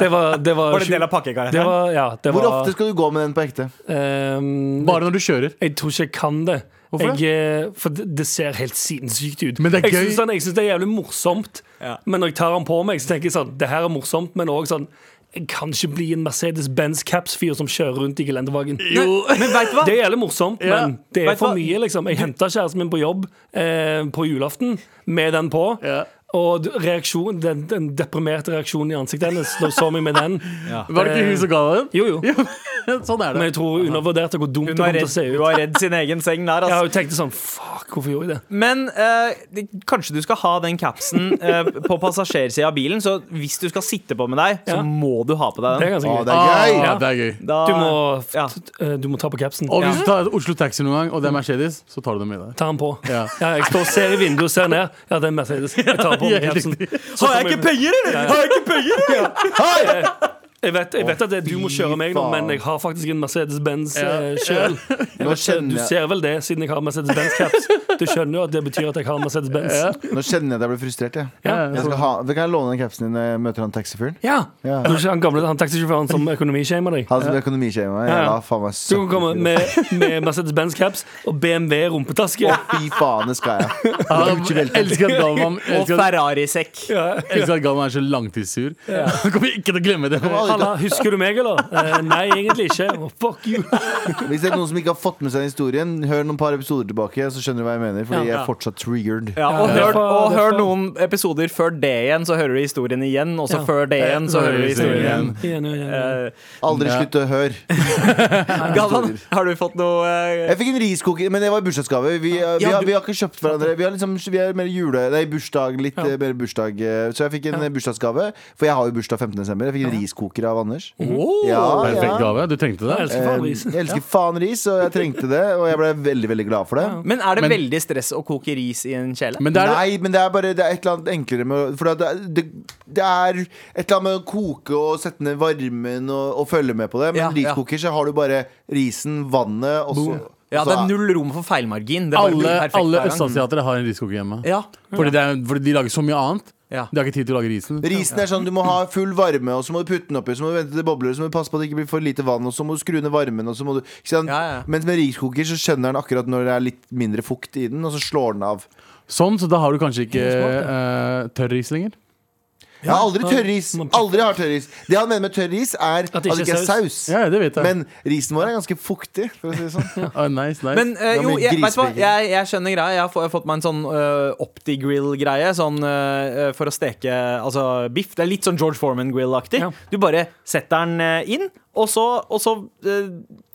Speaker 3: Det var, det var,
Speaker 4: Var det en del av pakkekarakteren?
Speaker 3: det var, ja, det
Speaker 5: Hvor
Speaker 3: var,
Speaker 5: ofte skal du gå med den på ekte?
Speaker 3: ehm,
Speaker 6: Bare når du kjører.
Speaker 3: Jeg tror ikke jeg kan det.
Speaker 6: Hvorfor det?
Speaker 3: Jeg, eh, for det det ser helt sinnssykt ut.
Speaker 6: Men det er
Speaker 3: Jeg
Speaker 6: gøy.
Speaker 3: syns den- jeg syns det er jævlig morsomt,
Speaker 4: Ja.
Speaker 3: men når jeg tar den på meg, så tenker jeg sånn Det her er morsomt, men òg sånn Jeg kan ikke bli en Mercedes-Benz Caps-fyr som kjører rundt i gelendervagen.
Speaker 4: Men vet du hva?
Speaker 3: Det er jævlig morsomt,
Speaker 6: Ja.
Speaker 3: men det er
Speaker 4: Vet du
Speaker 3: for
Speaker 4: hva?
Speaker 3: mye, liksom. Jeg henta kjæresten min på jobb eh, på julaften med den på.
Speaker 6: Ja.
Speaker 3: Og d- reaksjon, den, den deprimerte reaksjonen i ansiktet hennes da hun så meg med den
Speaker 6: Var det ikke hun som ga deg den?
Speaker 3: Jo, jo.
Speaker 6: sånn
Speaker 3: Men
Speaker 6: er det.
Speaker 3: jeg tror hun undervurderte hvor dumt det
Speaker 4: Hun var
Speaker 3: kom
Speaker 4: redd,
Speaker 3: til å se
Speaker 4: hun
Speaker 3: ut.
Speaker 4: var redd sin egen seng der,
Speaker 3: Ja,
Speaker 4: altså.
Speaker 3: hun tenkte sånn Fuck, hvorfor gjorde jeg det?
Speaker 4: Men eh, det- kanskje du skal ha den capsen eh, på passasjersida av bilen, så hvis du skal sitte på med deg, så
Speaker 3: Ja.
Speaker 4: må du ha på deg
Speaker 3: Det
Speaker 4: den.
Speaker 3: er ganske
Speaker 5: Å,
Speaker 3: gøy.
Speaker 5: det er
Speaker 3: Ah.
Speaker 5: gøy!
Speaker 6: Ja, Ah, det er gøy.
Speaker 4: Da-
Speaker 3: Du må,
Speaker 4: ja.
Speaker 3: eh, du må ta på capsen.
Speaker 6: Og hvis du tar Oslo Taxi noen gang, og det er Mercedes, så tar du den med deg.
Speaker 3: Ta den på.
Speaker 6: Ja.
Speaker 3: Ja, jeg står og ser i vinduet og ser ned. Ja, det er Mercedes. Jeg tar på meg capsen. Så
Speaker 4: Har jeg
Speaker 3: kommer-
Speaker 4: ikke penger, eller?!
Speaker 3: ja.
Speaker 4: Har jeg ikke penger, eller?!
Speaker 3: Jeg vet, jeg vet at det er du må kjøre meg nå, men jeg har faktisk en Mercedes-Benz eh, sjøl. Jeg
Speaker 5: Nå
Speaker 3: vet ikke, Du
Speaker 5: kjenner jeg-
Speaker 3: ser vel det, siden jeg har Mercedes-Benz-caps. Du skjønner jo at det betyr at jeg har Mercedes-Benz.
Speaker 5: Nå kjenner jeg at jeg blir frustrert. Jeg.
Speaker 3: Ja.
Speaker 5: Jeg skal ha, kan jeg låne den capsen din når jeg møter han taxifyren?
Speaker 3: ja.
Speaker 5: Ja.
Speaker 3: Du er ikke han gamle han taxisjåføren som økonomishamer deg.
Speaker 5: Han som
Speaker 3: Ja,
Speaker 5: økonomisjema.
Speaker 3: ja.
Speaker 5: Jævla faen meg
Speaker 3: Du kan komme
Speaker 5: 70 kilo.
Speaker 3: med, med Mercedes-Benz-caps og BMW-rumpetaske.
Speaker 5: Å, fy faen, det skal jeg.
Speaker 6: Jeg elsker at
Speaker 4: Og
Speaker 6: Galvan elsker at-
Speaker 4: Ferrari-sekk.
Speaker 6: elsker at Galvan er så langtidssur. Han kommer ikke til å glemme det.
Speaker 3: Halla, husker du meg, eller? Eh, nei, egentlig ikke. Å, fuck you.
Speaker 5: Hvis det er noen som ikke har fått med seg historien, hør noen par episoder tilbake, så skjønner du hva jeg mener. Fordi jeg er fortsatt triggered.
Speaker 4: Ja, og hør,
Speaker 3: Ja, det er-
Speaker 4: og
Speaker 3: det er-
Speaker 4: hør noen episoder før det igjen, så hører du historien igjen. Og så
Speaker 3: Ja.
Speaker 4: før det igjen, så hører du historien igjen.
Speaker 3: Igjen, igjen, igjen.
Speaker 4: Eh,
Speaker 5: Aldri
Speaker 6: Ja.
Speaker 5: slutt å høre.
Speaker 4: Galvan, har du fått noe eh,
Speaker 5: Jeg fikk en riskoker, men det var i bursdagsgave. Vi, eh, vi,
Speaker 4: Ja,
Speaker 5: har,
Speaker 4: du-
Speaker 5: vi har ikke kjøpt hverandre. Vi, har liksom, vi er mer jule... Nei, bursdag, litt
Speaker 3: Ja.
Speaker 5: eh, mer bursdag. eh, Så jeg fikk en
Speaker 3: Ja.
Speaker 5: eh, bursdagsgave, for jeg har jo bursdag 15. desember. Jeg fikk en riskoker av Anders. Ja, ja.
Speaker 6: Perfekt gave. Du trengte
Speaker 3: Jeg
Speaker 6: det.
Speaker 3: elsker faen
Speaker 5: Eh,
Speaker 3: ris.
Speaker 5: Jeg elsker faen ris, og jeg trengte det, og jeg ble veldig, veldig glad for det.
Speaker 3: Ja.
Speaker 4: Men er det
Speaker 6: Men-
Speaker 4: veldig stress å koke ris i en kjele?
Speaker 6: Men det er
Speaker 5: Nei, men det er bare det er et eller annet enklere med å- For det, det, det er et eller annet med å koke og sette ned varmen og, og følge med på det. Men
Speaker 4: Ja, ja.
Speaker 5: riskoker så har du bare risen, vannet og så,
Speaker 4: Ja,
Speaker 5: og
Speaker 4: det
Speaker 5: så
Speaker 4: er null rom for feilmargin. Det bare blir
Speaker 6: alle,
Speaker 4: perfekt
Speaker 6: alle
Speaker 4: hver gang.
Speaker 6: østasiatere har en riskoker hjemme.
Speaker 4: Ja.
Speaker 6: Fordi, det er, fordi de lager så mye annet.
Speaker 4: Ja.
Speaker 6: De har ikke tid til å lage risen.
Speaker 5: Risen er sånn, Du må ha full varme, og så må du putte den oppi, så må du vente til det bobler, så må du passe på at det ikke blir for lite vann, og så må du skru ned varmen, og så må du ikke sant?
Speaker 4: Ja, ja.
Speaker 5: Mens med riskoker så skjønner den akkurat når det er litt mindre fukt i den, og så slår den av.
Speaker 6: Sånn, så da har du kanskje ikke eh, tørr ris lenger.
Speaker 5: Jeg har aldri tørrris. Aldri har tørrris. Det han mener med tørrris, er at det ikke er saus.
Speaker 6: Ja, det vet jeg.
Speaker 5: Men risen vår er ganske fuktig, for å si det sånn.
Speaker 6: Ah, nice, nice.
Speaker 4: Men eh,
Speaker 5: Ja,
Speaker 4: jo,
Speaker 5: men
Speaker 4: jeg, vet du hva?
Speaker 5: grisbacon.
Speaker 4: Jeg, jeg skjønner greia. Jeg har, få, jeg har fått meg en sånn eh, OptiGrill-greie. Sånn eh, for å steke altså, biff. Det er litt sånn George Foreman-grill-aktig.
Speaker 3: Ja.
Speaker 4: Du bare setter den eh, inn, og så, og så, eh,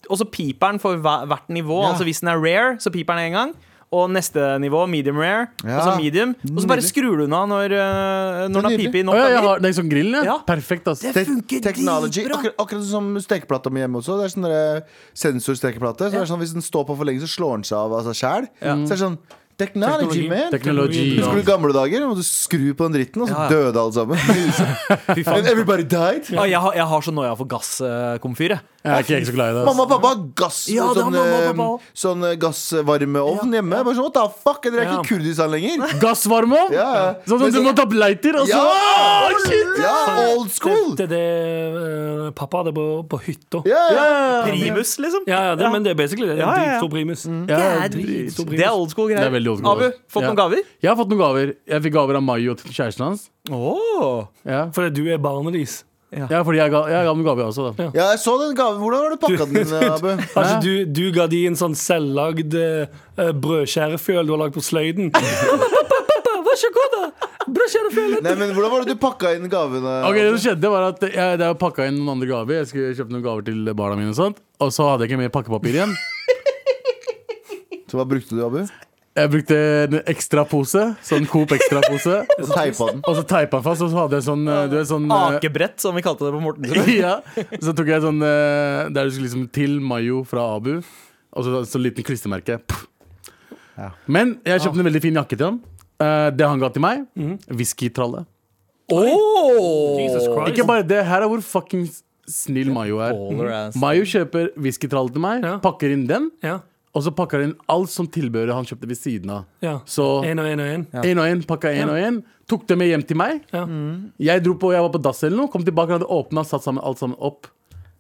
Speaker 4: og så piper den for hver, hvert nivå.
Speaker 5: Ja.
Speaker 4: Altså hvis den er rare, så piper den én gang. Og neste nivå medium rare. Og så
Speaker 5: Ja.
Speaker 4: medium. Og så bare
Speaker 5: Nydelig.
Speaker 4: skrur du den av når, eh, når den har
Speaker 5: Nydelig.
Speaker 4: pipet i
Speaker 6: Å,
Speaker 4: nok
Speaker 6: ja, jeg
Speaker 4: ganger.
Speaker 6: har, det er sånn grillen, ja.
Speaker 4: Ja.
Speaker 6: Perfekt, ass.
Speaker 5: Te- Technology, akkurat, akkurat som stekeplata mi hjemme også. Det er sånn der sensorstekeplate. Så det er sånn, hvis den står på for lenge, så slår den seg av av seg sjæl. Så det er sånn Technology,
Speaker 3: Teknologi.
Speaker 5: man!
Speaker 6: Teknologi.
Speaker 5: Husker du gamle dager? Måtte skru på den dritten, og så døde alle sammen. And everybody died.
Speaker 4: Ah, jeg, har, jeg har så noia for gasskomfyr. jeg.
Speaker 6: Jeg er ikke helt så glad i det.
Speaker 5: Mamma og pappa har gass
Speaker 4: Ja, det har
Speaker 5: sånn,
Speaker 4: mamma og
Speaker 5: eh,
Speaker 4: pappa også.
Speaker 5: sånn eh, gassvarmeovn hjemme. Bare sånn, what the fuck, Dere er
Speaker 3: Ja.
Speaker 5: ikke Kurdistan lenger.
Speaker 6: ass. Gassvarme òg!
Speaker 5: Ja, ja.
Speaker 6: Sånn
Speaker 5: Men
Speaker 6: som du
Speaker 5: så-
Speaker 6: må ta bleiter, og så
Speaker 5: Ja,
Speaker 6: Åh, shit!
Speaker 5: ja old school!
Speaker 3: Det er det eh, pappa hadde på, på hytta.
Speaker 5: Ja, ja.
Speaker 4: Primus, liksom.
Speaker 3: Ja, ja, det, men det er basically det. det er
Speaker 4: Ja,
Speaker 3: en
Speaker 4: ja, ja.
Speaker 3: Dritstor primus.
Speaker 6: Ja,
Speaker 3: Dritstor
Speaker 4: Det er
Speaker 3: primus.
Speaker 4: old school-greier.
Speaker 6: Det er veldig old school.
Speaker 4: Abu, fått
Speaker 6: Ja.
Speaker 4: noen gaver?
Speaker 6: Jeg har fått noen gaver. Jeg fikk gaver av Mayo til kjæresten hans.
Speaker 4: Oh.
Speaker 6: Ja,
Speaker 3: Fordi du er barnet deres.
Speaker 6: ja fordi jeg ga, jeg ga dem gaver, jeg også. Da.
Speaker 3: Ja.
Speaker 5: ja, jeg så den gaven. Hvordan har du pakka den, eh, Abu?
Speaker 3: Har ikke Altså, du, du ga de en sånn selvlagd uh, brødskjærefjøl du har lagd på sløyden? Vær så god, da! Brødskjærefjølet!
Speaker 5: Nei, men Hvordan var det du pakka inn gaven? eh,
Speaker 6: Ok, Det som skjedde, var at jeg, jeg pakka inn noen andre gaver. Jeg skulle kjøpe noen gaver til barna mine, og sånt Og så hadde jeg ikke mer pakkepapir igjen.
Speaker 5: Så hva brukte du, Abu?
Speaker 6: Jeg brukte en ekstra pose. Sånn Coop ekstra-pose.
Speaker 5: Og teipa den.
Speaker 6: Og så teipa han fast, og så hadde jeg sånn eh, Du vet sånn eh,
Speaker 4: Akebrett, som vi kalte det på Morten.
Speaker 6: ja. Så tok jeg sånn eh, Der du skulle liksom til Mayo fra Abu Og så så liten klistermerke Pff. Men jeg kjøpte en veldig fin jakke til han Eh, Det han ga til meg Whisky-tralle
Speaker 3: Jesus Christ.
Speaker 6: Ikke bare det, her er hvor fucking snill Mayo er Mm.
Speaker 4: Baller ass.
Speaker 6: Mayo kjøper whisky-tralle til meg
Speaker 3: Ja.
Speaker 6: Pakker inn den
Speaker 3: Ja.
Speaker 6: Og så pakka han inn alt som tilbehøret han kjøpte ved siden av.
Speaker 3: Ja.
Speaker 6: Så
Speaker 3: En og en og en.
Speaker 6: én og én pakka én og én. Tok det med hjem til meg.
Speaker 3: Ja.
Speaker 5: Mm.
Speaker 6: Jeg dro på, jeg var på dass eller noe, kom tilbake, han hadde åpna, satt sammen alt sammen opp.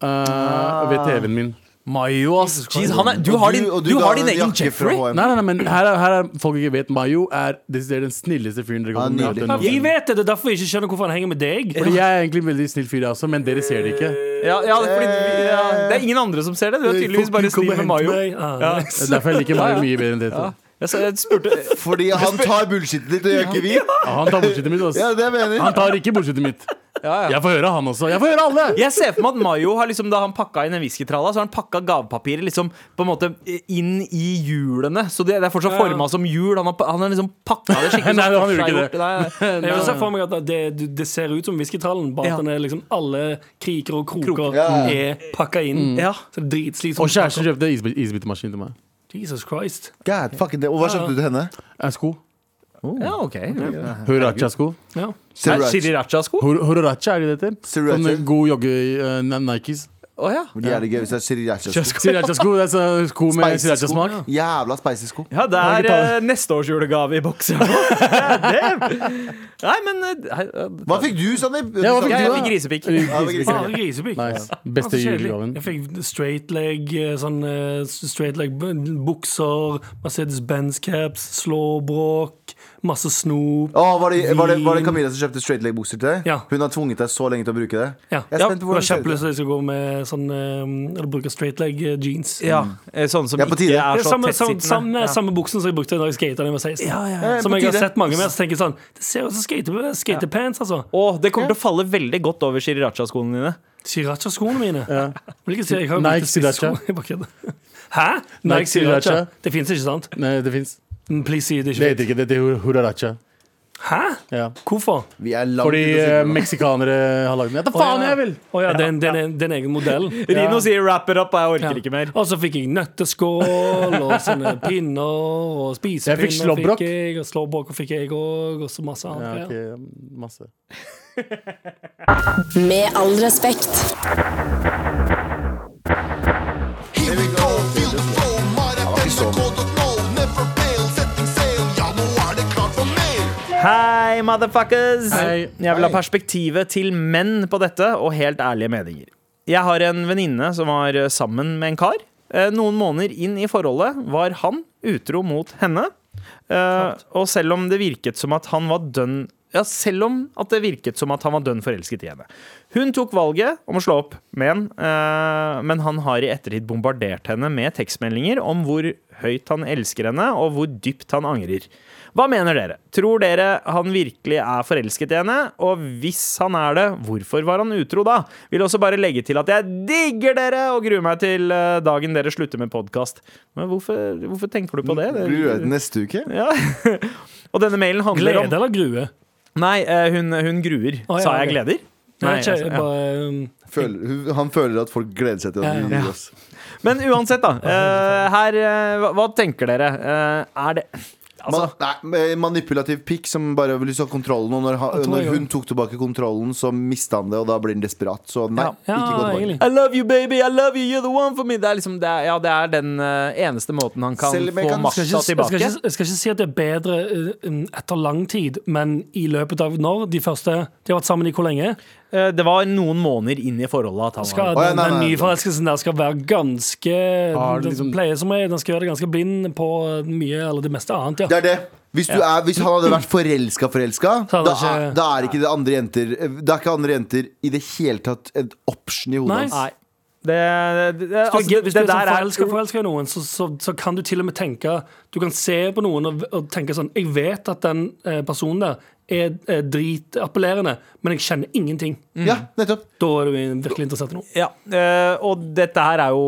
Speaker 6: eh,
Speaker 5: Ah.
Speaker 6: Ved TV-en min.
Speaker 4: Mayo, ass. Jeez, han er, du har din,
Speaker 5: og
Speaker 4: du
Speaker 5: ga
Speaker 4: har din
Speaker 5: en
Speaker 4: egen
Speaker 5: jakke fra
Speaker 4: Jeffrey.
Speaker 5: H&M.
Speaker 6: Nei, nei, nei, men her er, her er folk ikke vet Mayo er desidert den snilleste fyren dere
Speaker 5: Han
Speaker 6: kan
Speaker 5: er
Speaker 6: møte.
Speaker 5: Ah, nydelig.
Speaker 3: Jeg vet det, det er derfor jeg ikke skjønner hvorfor han henger med deg.
Speaker 6: Fordi jeg er egentlig en veldig snill fyr, jeg også, men dere ser det ikke.
Speaker 4: Ja, ja, fordi, ja, det er ingen andre som ser det. Du er tydeligvis bare snill med Mayo.
Speaker 3: Nei, ah,
Speaker 4: Ja.
Speaker 6: Det er derfor jeg liker Mayo mye bedre enn det.
Speaker 4: Jeg, sa- jeg spurte
Speaker 5: Fordi han tar bullshitten ditt, og gjør ikke vi?
Speaker 6: Han tar budsjettet mitt,
Speaker 5: Ja,
Speaker 6: altså.
Speaker 5: det mener jeg.
Speaker 6: Han tar ikke budsjettet mitt.
Speaker 4: ja, ja.
Speaker 6: Jeg får høre han også. Jeg får høre alle!
Speaker 4: Jeg ser for meg at Mayo har liksom, da han pakka inn en whiskytralla, så har han pakka gavepapiret liksom, på en måte inn i hjulene. Så det, det er fortsatt
Speaker 3: Ja.
Speaker 4: forma som hjul. Han har, pa- han har liksom pakka det skikkelig.
Speaker 6: Nei,
Speaker 4: sånn
Speaker 6: han gjorde ikke
Speaker 4: forseggjort. Nei,
Speaker 3: Jeg vil se for meg at det, du- det ser ut som whiskytrallen, bare
Speaker 4: Ja.
Speaker 3: at den er liksom alle kriker og kroker
Speaker 5: Ja, ja.
Speaker 3: er pakka inn.
Speaker 4: Ja.
Speaker 3: Så det er dritslitsomt.
Speaker 6: Og kjæresten kjøpte isbit- isbitemaskin til meg.
Speaker 3: Jesus Christ.
Speaker 5: God, fucking det. Og hva kjøpte du til henne?
Speaker 6: Eh, Sko.
Speaker 4: ja, ok.
Speaker 6: Huaracha-sko.
Speaker 3: Ja.
Speaker 4: Er
Speaker 5: Sriracha.
Speaker 4: Sriracha-sko?
Speaker 6: Hor- Huaracha, er det det heter?
Speaker 5: Sriracha.
Speaker 6: Sånne gode jogge... eh, Nikes.
Speaker 4: Å ja.
Speaker 5: Jævlig gøy hvis det er sriracha.
Speaker 6: Sriracha-sko. Det er så sko med
Speaker 5: Spicy sko.
Speaker 6: sriracha-smak.
Speaker 5: Jævla spicy sko.
Speaker 4: Ja, det
Speaker 6: Kan
Speaker 4: er
Speaker 6: ikke ta
Speaker 4: eh, neste års julegave i boks. Ja, det- Nei, men eh, hei, eh,
Speaker 5: Hva fikk du, Sandeep?
Speaker 6: Ja, hva fikk
Speaker 4: Jeg, jeg
Speaker 6: du da?
Speaker 4: fikk grisepikk.
Speaker 5: Ja, det var grisepikk.
Speaker 3: Bare grisepikk.
Speaker 6: Nice.
Speaker 3: Ja, så
Speaker 6: Beste
Speaker 3: kjedelig.
Speaker 6: julegaven.
Speaker 3: Jeg fikk straight leg, eh, sånn eh, straight leg b- bukser, Mercedes-Benz caps, slåbråk, masse snop.
Speaker 5: Å, var, det, var, det, var det
Speaker 3: Vin.
Speaker 5: Camilla som kjøpte straight leg-bukser til deg?
Speaker 3: Ja.
Speaker 5: Hun har tvunget deg så lenge til å bruke det?
Speaker 3: Ja.
Speaker 5: Jeg er
Speaker 3: ja.
Speaker 5: spent
Speaker 3: Jeg har
Speaker 5: på hvordan det ser ut.
Speaker 3: kjempelyst til at jeg skal gå med sånn eh, Eller bruke straight leg eh, jeans.
Speaker 4: Ja, eh, sånne som
Speaker 5: Ja, på tide.
Speaker 4: ikke er
Speaker 3: Det er
Speaker 4: så
Speaker 3: samme, samme,
Speaker 4: tettsittende.
Speaker 3: samme,
Speaker 4: Ja.
Speaker 3: samme buksen som jeg brukte da jeg skata da jeg var 16.
Speaker 5: ja.
Speaker 3: Som
Speaker 5: På
Speaker 3: jeg har
Speaker 5: tide.
Speaker 3: sett mange med. Så tenker jeg sånn Det ser ut som skate, skatepants, altså.
Speaker 4: Å, det kommer til å falle veldig godt over sriracha-skoene dine.
Speaker 3: Sriracha-skoene mine. Hvilke sier jeg? har
Speaker 6: Nike
Speaker 3: brukt spissko.
Speaker 6: Sriracha.
Speaker 3: Jeg bare kødder. Hæ?
Speaker 6: Nike
Speaker 3: Nike Sriracha?
Speaker 6: Sriracha.
Speaker 3: Det fins ikke, sant?
Speaker 6: Nei, det fins.
Speaker 3: Mm, Please si det
Speaker 6: Det
Speaker 3: ikke.
Speaker 6: heter ikke det. Det er huaracha.
Speaker 3: Hæ?
Speaker 6: Ja.
Speaker 3: Hvorfor?
Speaker 5: Vi er langt
Speaker 6: Fordi
Speaker 5: ute å
Speaker 6: eh,
Speaker 5: sykle nå.
Speaker 6: meksikanere har lagd den. Ja, da faen jeg vil!
Speaker 3: Å ja, det er en- det er en- det er en egen modell.
Speaker 4: Rino sier 'wrap it up', og jeg orker ikke mer.
Speaker 3: Og så fikk jeg nøtteskål og sånne pinner og spisepinner.
Speaker 6: Jeg fikk slåbrok.
Speaker 3: jeg, Og slåbrok fikk jeg òg, og så masse
Speaker 6: Ja,
Speaker 3: annet. Ja.
Speaker 6: ok, masse.
Speaker 7: Med all respekt.
Speaker 4: Hei, motherfuckers!
Speaker 6: Hei.
Speaker 4: Jeg vil ha perspektivet til menn på dette, og helt ærlige meninger. Jeg har en venninne som var eh, sammen med en kar. Eh, Noen måneder inn i forholdet var han utro mot henne. Eh, og selv om det virket som at han var dønn Ja, selv om at det virket som at han var dønn forelsket i henne. Hun tok valget om å slå opp med han, eh, men han har i ettertid bombardert henne med tekstmeldinger om hvor høyt han elsker henne, og hvor dypt han angrer. Hva mener dere? Tror dere han virkelig er forelsket i henne? Og hvis han er det, hvorfor var han utro da? Vil også bare legge til at jeg digger dere og gruer meg til eh, dagen dere slutter med podkast. Men hvorfor, hvorfor tenker du på det?
Speaker 5: Blir du redd neste uke?
Speaker 4: Ja. Og denne mailen handler
Speaker 3: Glede eller grue?
Speaker 4: om Nei, eh, hun, hun gruer.
Speaker 3: Å, ja,
Speaker 4: Sa jeg
Speaker 3: ok.
Speaker 4: gleder?
Speaker 3: Nei,
Speaker 4: Nei,
Speaker 3: ikke,
Speaker 4: altså, ja.
Speaker 3: bare, um,
Speaker 5: Føler, hun- han føler at folk gleder seg til at
Speaker 3: Ja,
Speaker 5: vi gir oss.
Speaker 4: Men uansett, da. eh, her eh, hva, hva tenker dere? Eh, er det Altså,
Speaker 5: Man, nei, eh, manipulativ pikk som bare vil liksom ha kontrollen. Og når, han,
Speaker 3: tror
Speaker 5: når
Speaker 3: jeg
Speaker 5: hun tok tilbake kontrollen, så mista han det, og da blir han desperat. Så nei,
Speaker 4: Ja.
Speaker 3: ja,
Speaker 5: ikke gå tilbake.
Speaker 3: egentlig.
Speaker 4: I love you, baby. I love you. You're the one for me. Det er liksom det er, Ja, det er den eh, eneste måten han kan
Speaker 5: Selv om jeg
Speaker 4: få
Speaker 5: kan-
Speaker 4: makta
Speaker 5: skal ikke-
Speaker 3: Jeg skal,
Speaker 4: tilbake.
Speaker 3: ikke, jeg skal ikke si at det er bedre eh, enn etter lang tid, men i løpet av når? De første De har vært sammen i hvor lenge?
Speaker 4: Eh, det var noen måneder inn i forholdet at han
Speaker 3: Skal,
Speaker 4: var
Speaker 5: Å, ja,
Speaker 3: den,
Speaker 5: nei,
Speaker 3: den
Speaker 5: nei, nei.
Speaker 3: nye forelskelsen der skal være ganske
Speaker 6: Har
Speaker 3: Den
Speaker 6: liksom-
Speaker 3: pleier som regel Den skal gjøre det ganske blind på uh, mye eller det meste annet, ja.
Speaker 5: Det er det. Hvis, du er, hvis han hadde vært forelska, forelska,
Speaker 3: Så hadde
Speaker 5: da,
Speaker 3: han
Speaker 5: er-
Speaker 3: ikke-
Speaker 5: da er ikke det andre jenter eh, Da er ikke andre jenter i det hele tatt et option i hodet
Speaker 3: Nei.
Speaker 5: hans.
Speaker 4: Nei. Det, det, det,
Speaker 3: Hvis du,
Speaker 4: altså,
Speaker 3: hvis du
Speaker 4: det
Speaker 3: er sånn
Speaker 4: der
Speaker 3: forelska
Speaker 4: er
Speaker 3: forelska i noen, så, så, så kan du til og med tenke Du kan se på noen og, og tenke sånn Jeg vet at den eh, personen der er, er dritappellerende, men jeg kjenner ingenting.
Speaker 5: Ja, nettopp.
Speaker 3: Da er du virkelig interessert i noe.
Speaker 4: Ja, eh, og dette her er jo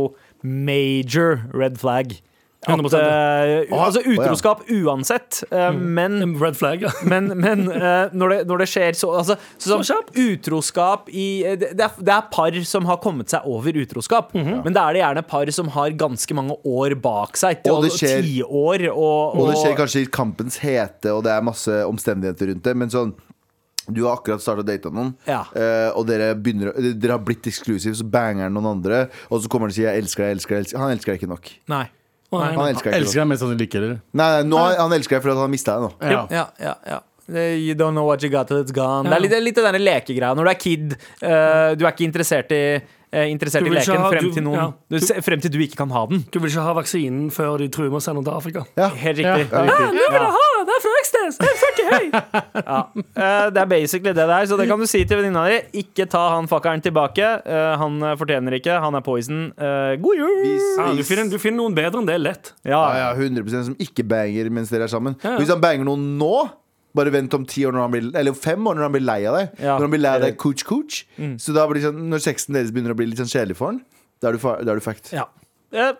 Speaker 4: major red flag. At,
Speaker 3: 100%,
Speaker 4: eh, u- altså
Speaker 5: ja. Mm.
Speaker 4: utroskap uansett, eh, men
Speaker 3: Red flag. ja.
Speaker 4: men, men eh, når, det, når det skjer så altså, så,
Speaker 3: Så
Speaker 4: sånn
Speaker 3: kjapt.
Speaker 4: Utroskap i eh, det, det er, det er par som har kommet seg over utroskap,
Speaker 3: Mhm.
Speaker 4: men da er det gjerne par som har ganske mange år bak seg.
Speaker 5: Og det skjer-
Speaker 4: Tiår. Og,
Speaker 5: Og det skjer
Speaker 4: og-
Speaker 5: kanskje i kampens hete, og det er masse omstendigheter rundt det, men sånn du har akkurat starta å date noen,
Speaker 4: Ja.
Speaker 5: eh, og dere, begynner, å- dere har blitt eksklusiv, så banger han noen andre, og så kommer han og sier 'jeg elsker deg', jeg elsker deg, jeg elsker deg. Han elsker deg ikke nok.
Speaker 4: Nei.
Speaker 3: Å, nei,
Speaker 5: Han
Speaker 3: nei.
Speaker 5: elsker deg ikke.
Speaker 6: Elsker deg mest han liker deg.
Speaker 5: Nei, nei, nå, han elsker deg for at han mista deg nå.
Speaker 6: Ja.
Speaker 4: Ja, ja, ja. Det- You don't know what you got till it's gone. Det er litt, det er litt den der lekegreia. Når du er kid, eh, du er ikke interessert i eh, Interessert
Speaker 3: Du
Speaker 4: i
Speaker 3: vil ikke
Speaker 4: leken
Speaker 3: ha-
Speaker 4: frem,
Speaker 3: du-
Speaker 4: til noen,
Speaker 3: ja.
Speaker 4: du, se- frem til du ikke kan ha den.
Speaker 3: Du vil ikke ha vaksinen før de truer med å sende den til Afrika.
Speaker 5: Ja.
Speaker 4: Helt riktig.
Speaker 6: Ja, riktig.
Speaker 3: Ah, det er fra Øksnes! Det er fucking høy!
Speaker 4: Eh, det er basically det der, så det kan du si til venninna di. Ikke ta han fuckeren tilbake. Eh, han eh, fortjener ikke. Han er poison. Eh, god jul!
Speaker 5: Vis-
Speaker 3: Ja, du,
Speaker 5: vis-
Speaker 3: finner, du finner noen bedre enn det lett.
Speaker 5: Ja,
Speaker 4: Ja,
Speaker 5: ja, 100 som ikke banger mens dere er sammen.
Speaker 3: Ja, ja.
Speaker 5: Hvis han banger noen nå, bare vent om ti år når han blir, eller om fem år når han blir lei av deg.
Speaker 4: Ja.
Speaker 5: Når han blir lei av deg cooch-cooch. Så da blir det sånn, når sexen deres begynner å bli litt sånn kjedelig for han, da er du, fa- da er du fucked.
Speaker 3: Ja.
Speaker 4: Eh,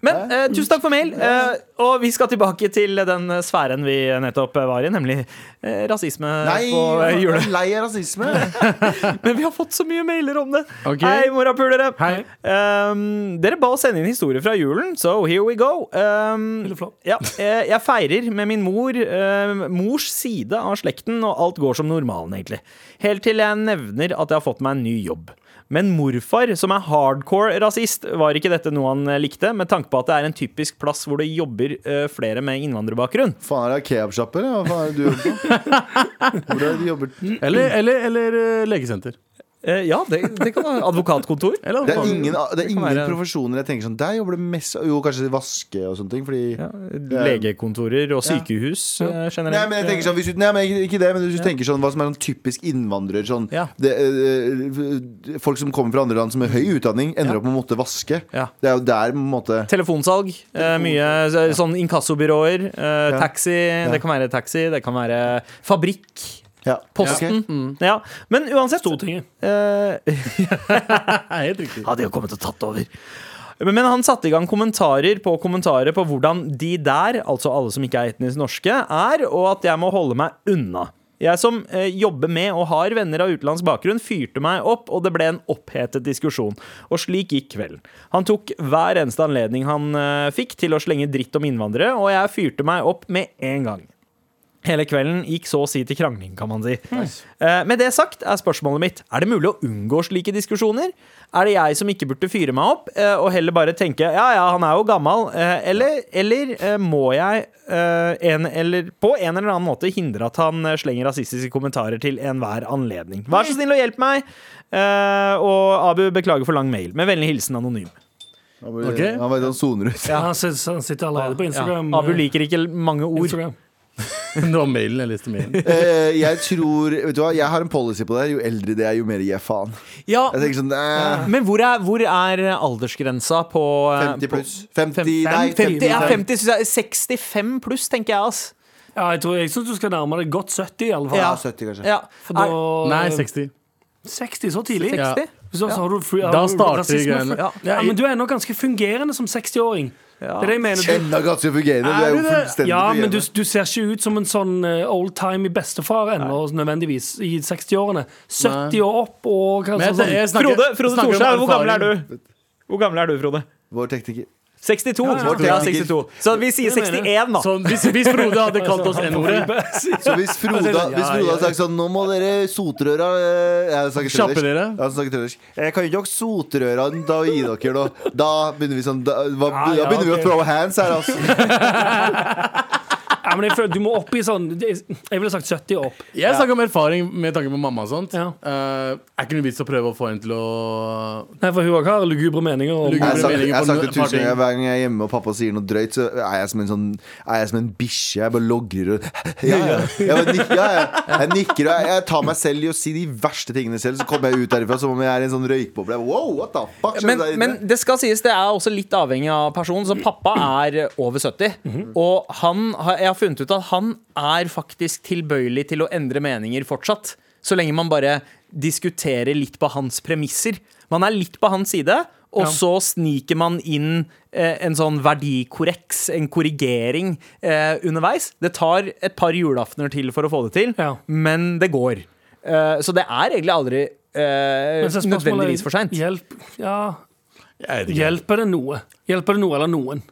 Speaker 4: men eh, tusen takk for mail. Eh, og vi skal tilbake til den eh, sfæren vi nettopp eh, var i, nemlig eh, rasisme
Speaker 5: Nei, altså,
Speaker 4: på eh,
Speaker 5: jeg
Speaker 4: jule.
Speaker 5: er lei av rasisme.
Speaker 4: Men vi har fått så mye mailer om det.
Speaker 6: Ok.
Speaker 4: Hei, morapulere.
Speaker 6: Hei.
Speaker 4: Um, dere ba oss sende inn historier fra julen, so here we go. Um,
Speaker 3: Veldig flott.
Speaker 4: ja, eh, jeg feirer med min mor, eh, mors side av slekten, og alt går som normalen, egentlig. Helt til jeg nevner at jeg har fått meg en ny jobb. Men morfar, som er hardcore rasist, var ikke dette noe han eh, likte, med tanke på at det er en typisk plass hvor det jobber eh, flere med innvandrerbakgrunn.
Speaker 5: faen, er det kebabsjappe, eller? Hva faen er det du jobber på? Hvor er det du jobber?
Speaker 6: Eller, eller, eller eh, legesenter.
Speaker 4: Eh, ja, det, det kan være advokatkontor.
Speaker 6: Eller
Speaker 5: Det er
Speaker 6: advokat.
Speaker 5: ingen, det er ingen
Speaker 4: være-
Speaker 5: profesjoner jeg tenker sånn Der jobber det mest Jo, kanskje vaske og sånne ting, fordi
Speaker 4: Ja, legekontorer og sykehus eh,
Speaker 5: Eh, Nei,
Speaker 4: generelt.
Speaker 5: men jeg tenker sånn, hvis du, nei, men ikke- ikke det, men hvis du tenker sånn hva som er sånn typisk innvandrer sånn,
Speaker 4: Ja.
Speaker 5: det, eh, eh, Folk som kommer fra andre land som har høy utdanning, ender opp med å måtte vaske.
Speaker 4: Eh, Ja.
Speaker 5: Det er jo der på en måte
Speaker 4: Telefonsalg. eh, mye eh, sånn inkassobyråer. eh, Taxi. Det kan være taxi, det kan være fabrikk.
Speaker 5: ja.
Speaker 4: Posten.
Speaker 5: Ok. Mm.
Speaker 4: Ja. Men uansett
Speaker 3: Stortinget.
Speaker 4: eh,
Speaker 6: Nei, helt riktig.
Speaker 4: hadde jo kommet og tatt over. Men men han satte i gang kommentarer på kommentarer på hvordan de der, altså alle som ikke er etnisk norske, er, og at jeg må holde meg unna. Jeg som eh, jobber med og har venner av utenlandsk bakgrunn, fyrte meg opp, og det ble en opphetet diskusjon. Og slik gikk kvelden. Han tok hver eneste anledning han eh, fikk til å slenge dritt om innvandrere, og jeg fyrte meg opp med en gang. Hele kvelden gikk så å si til krangling, kan man si. Eh, Med det sagt er spørsmålet mitt Er det mulig å unngå slike diskusjoner? Er det jeg som ikke burde fyre meg opp, eh, og heller bare tenke ja ja, han er jo gammel, eh, eller, eller eh, må jeg eh, en, eller, på en eller annen måte hindre at han eh, slenger rasistiske kommentarer til enhver anledning? Vær så snill å hjelpe meg! Eh, Og Abu, beklager for lang mail. Med vennlig hilsen anonym.
Speaker 5: Han, bare,
Speaker 6: Ok.
Speaker 5: han vet han soner ut.
Speaker 3: Han, sitter, han sitter allerede på
Speaker 4: Ja.
Speaker 3: Instagram. eh,
Speaker 4: Abu liker ikke mange ord.
Speaker 3: Instagram.
Speaker 6: Det var mailen jeg leste. mailen
Speaker 5: Eh, jeg tror Vet du hva, jeg har en policy på det her. Jo eldre det er, jo mer gir jeg faen.
Speaker 4: Ja,
Speaker 5: Jeg tenker sånn eh,
Speaker 4: men hvor er, hvor er aldersgrensa på eh,
Speaker 5: 50
Speaker 4: på-
Speaker 5: pluss. 50, nei,
Speaker 4: 50,
Speaker 5: 50,
Speaker 4: ja, 50 synes jeg, 65 pluss, tenker jeg. ass
Speaker 3: Ja, jeg tror- jeg syns du skal nærme deg godt 70, i alle fall.
Speaker 5: Ja,
Speaker 4: Ja.
Speaker 5: 70, kanskje.
Speaker 4: ja.
Speaker 3: For da,
Speaker 4: Er-
Speaker 6: Nei, 60.
Speaker 3: 60 så tidlig.
Speaker 4: 60?
Speaker 6: Ja.
Speaker 3: Så, så har du free,
Speaker 6: Da starter
Speaker 3: rasisme-
Speaker 6: greiene.
Speaker 3: Ja. Ja, men du er ennå ganske fungerende som 60-åring. Det er det jeg mener. Du,
Speaker 5: Enda ganske fungerende. Du er jo fullstendig
Speaker 3: ja, men du,
Speaker 5: fungerende.
Speaker 3: du ser ikke ut som en sånn oldtime bestefar ennå, nødvendigvis, i 60-årene. 70 og opp og hva
Speaker 6: Men jeg-
Speaker 3: sånn.
Speaker 6: jeg snakker-
Speaker 4: Frode, Frode
Speaker 6: snakker om
Speaker 4: Thorshaug, hvor gammel er
Speaker 6: erfaring.
Speaker 4: du? Hvor gammel er du, Frode?
Speaker 5: Vår tekniker.
Speaker 4: 62. Ja,
Speaker 5: ja.
Speaker 4: 62. Så vi sier 61, da.
Speaker 6: Så Sånn, hvis, hvis Frode hadde kalt oss
Speaker 4: Sånn
Speaker 6: N-ordet
Speaker 5: Så hvis Frode, hvis
Speaker 6: Ja, ja,
Speaker 5: Frode hadde sagt sånn Nå må dere sotrøra eh, Jeg snakker
Speaker 6: Kjappe
Speaker 5: trøndersk.
Speaker 6: dere.
Speaker 5: Ja, han snakker trøndersk. Jeg kan ikke dere sotrøra da og gi dere nå. Da begynner vi sånn Da, hva,
Speaker 3: Ja, ja,
Speaker 5: da begynner vi
Speaker 3: ok.
Speaker 5: å throw hands her, altså.
Speaker 3: Ja, men jeg føler, du må opp i sånn Jeg ville sagt 70 og opp.
Speaker 6: Jeg snakker om erfaring med tanke på mamma og sånt.
Speaker 3: Ja.
Speaker 6: Eh, er ikke noe vits å prøve å få henne til å
Speaker 3: Nei, for hun også har lugubre meninger om Altså,
Speaker 6: Lugubre.
Speaker 5: Jeg har sagt-
Speaker 6: meninger
Speaker 5: jeg har
Speaker 6: på
Speaker 5: sagt det
Speaker 6: noe- par
Speaker 5: tusen
Speaker 6: ting.
Speaker 5: ganger. Hver gang jeg er hjemme og pappa sier noe drøyt, så er jeg som en sånn Er jeg som en bikkje. Jeg bare logrer og ja, ja. Jeg, bare nikker, ja, ja. jeg nikker og jeg tar meg selv i å si de verste tingene selv, så kommer jeg ut derifra som om jeg er i en sånn røykboble. Jeg bare, Wow, what the fuck skjedde
Speaker 4: Men,
Speaker 5: der inne?
Speaker 4: men det skal sies, det er også litt avhengig av personen. Så pappa er eh, over 70,
Speaker 3: Mhm.
Speaker 4: og han, har- jeg har funnet ut at han er faktisk tilbøyelig til å endre meninger fortsatt. Så lenge man bare diskuterer litt på hans premisser. Man er litt på hans side, og så sniker man inn eh, en sånn verdikorreks, en korrigering, eh, underveis. Det tar et par julaftener til for å få det til,
Speaker 3: Ja.
Speaker 4: men det går. Eh, så det er egentlig aldri eh,
Speaker 3: Men så er spørsmålet,
Speaker 4: nødvendigvis for seint.
Speaker 3: Hjelp, ja,
Speaker 6: Jeg vet ikke.
Speaker 3: hjelper det noe? Hjelper det noe eller noen?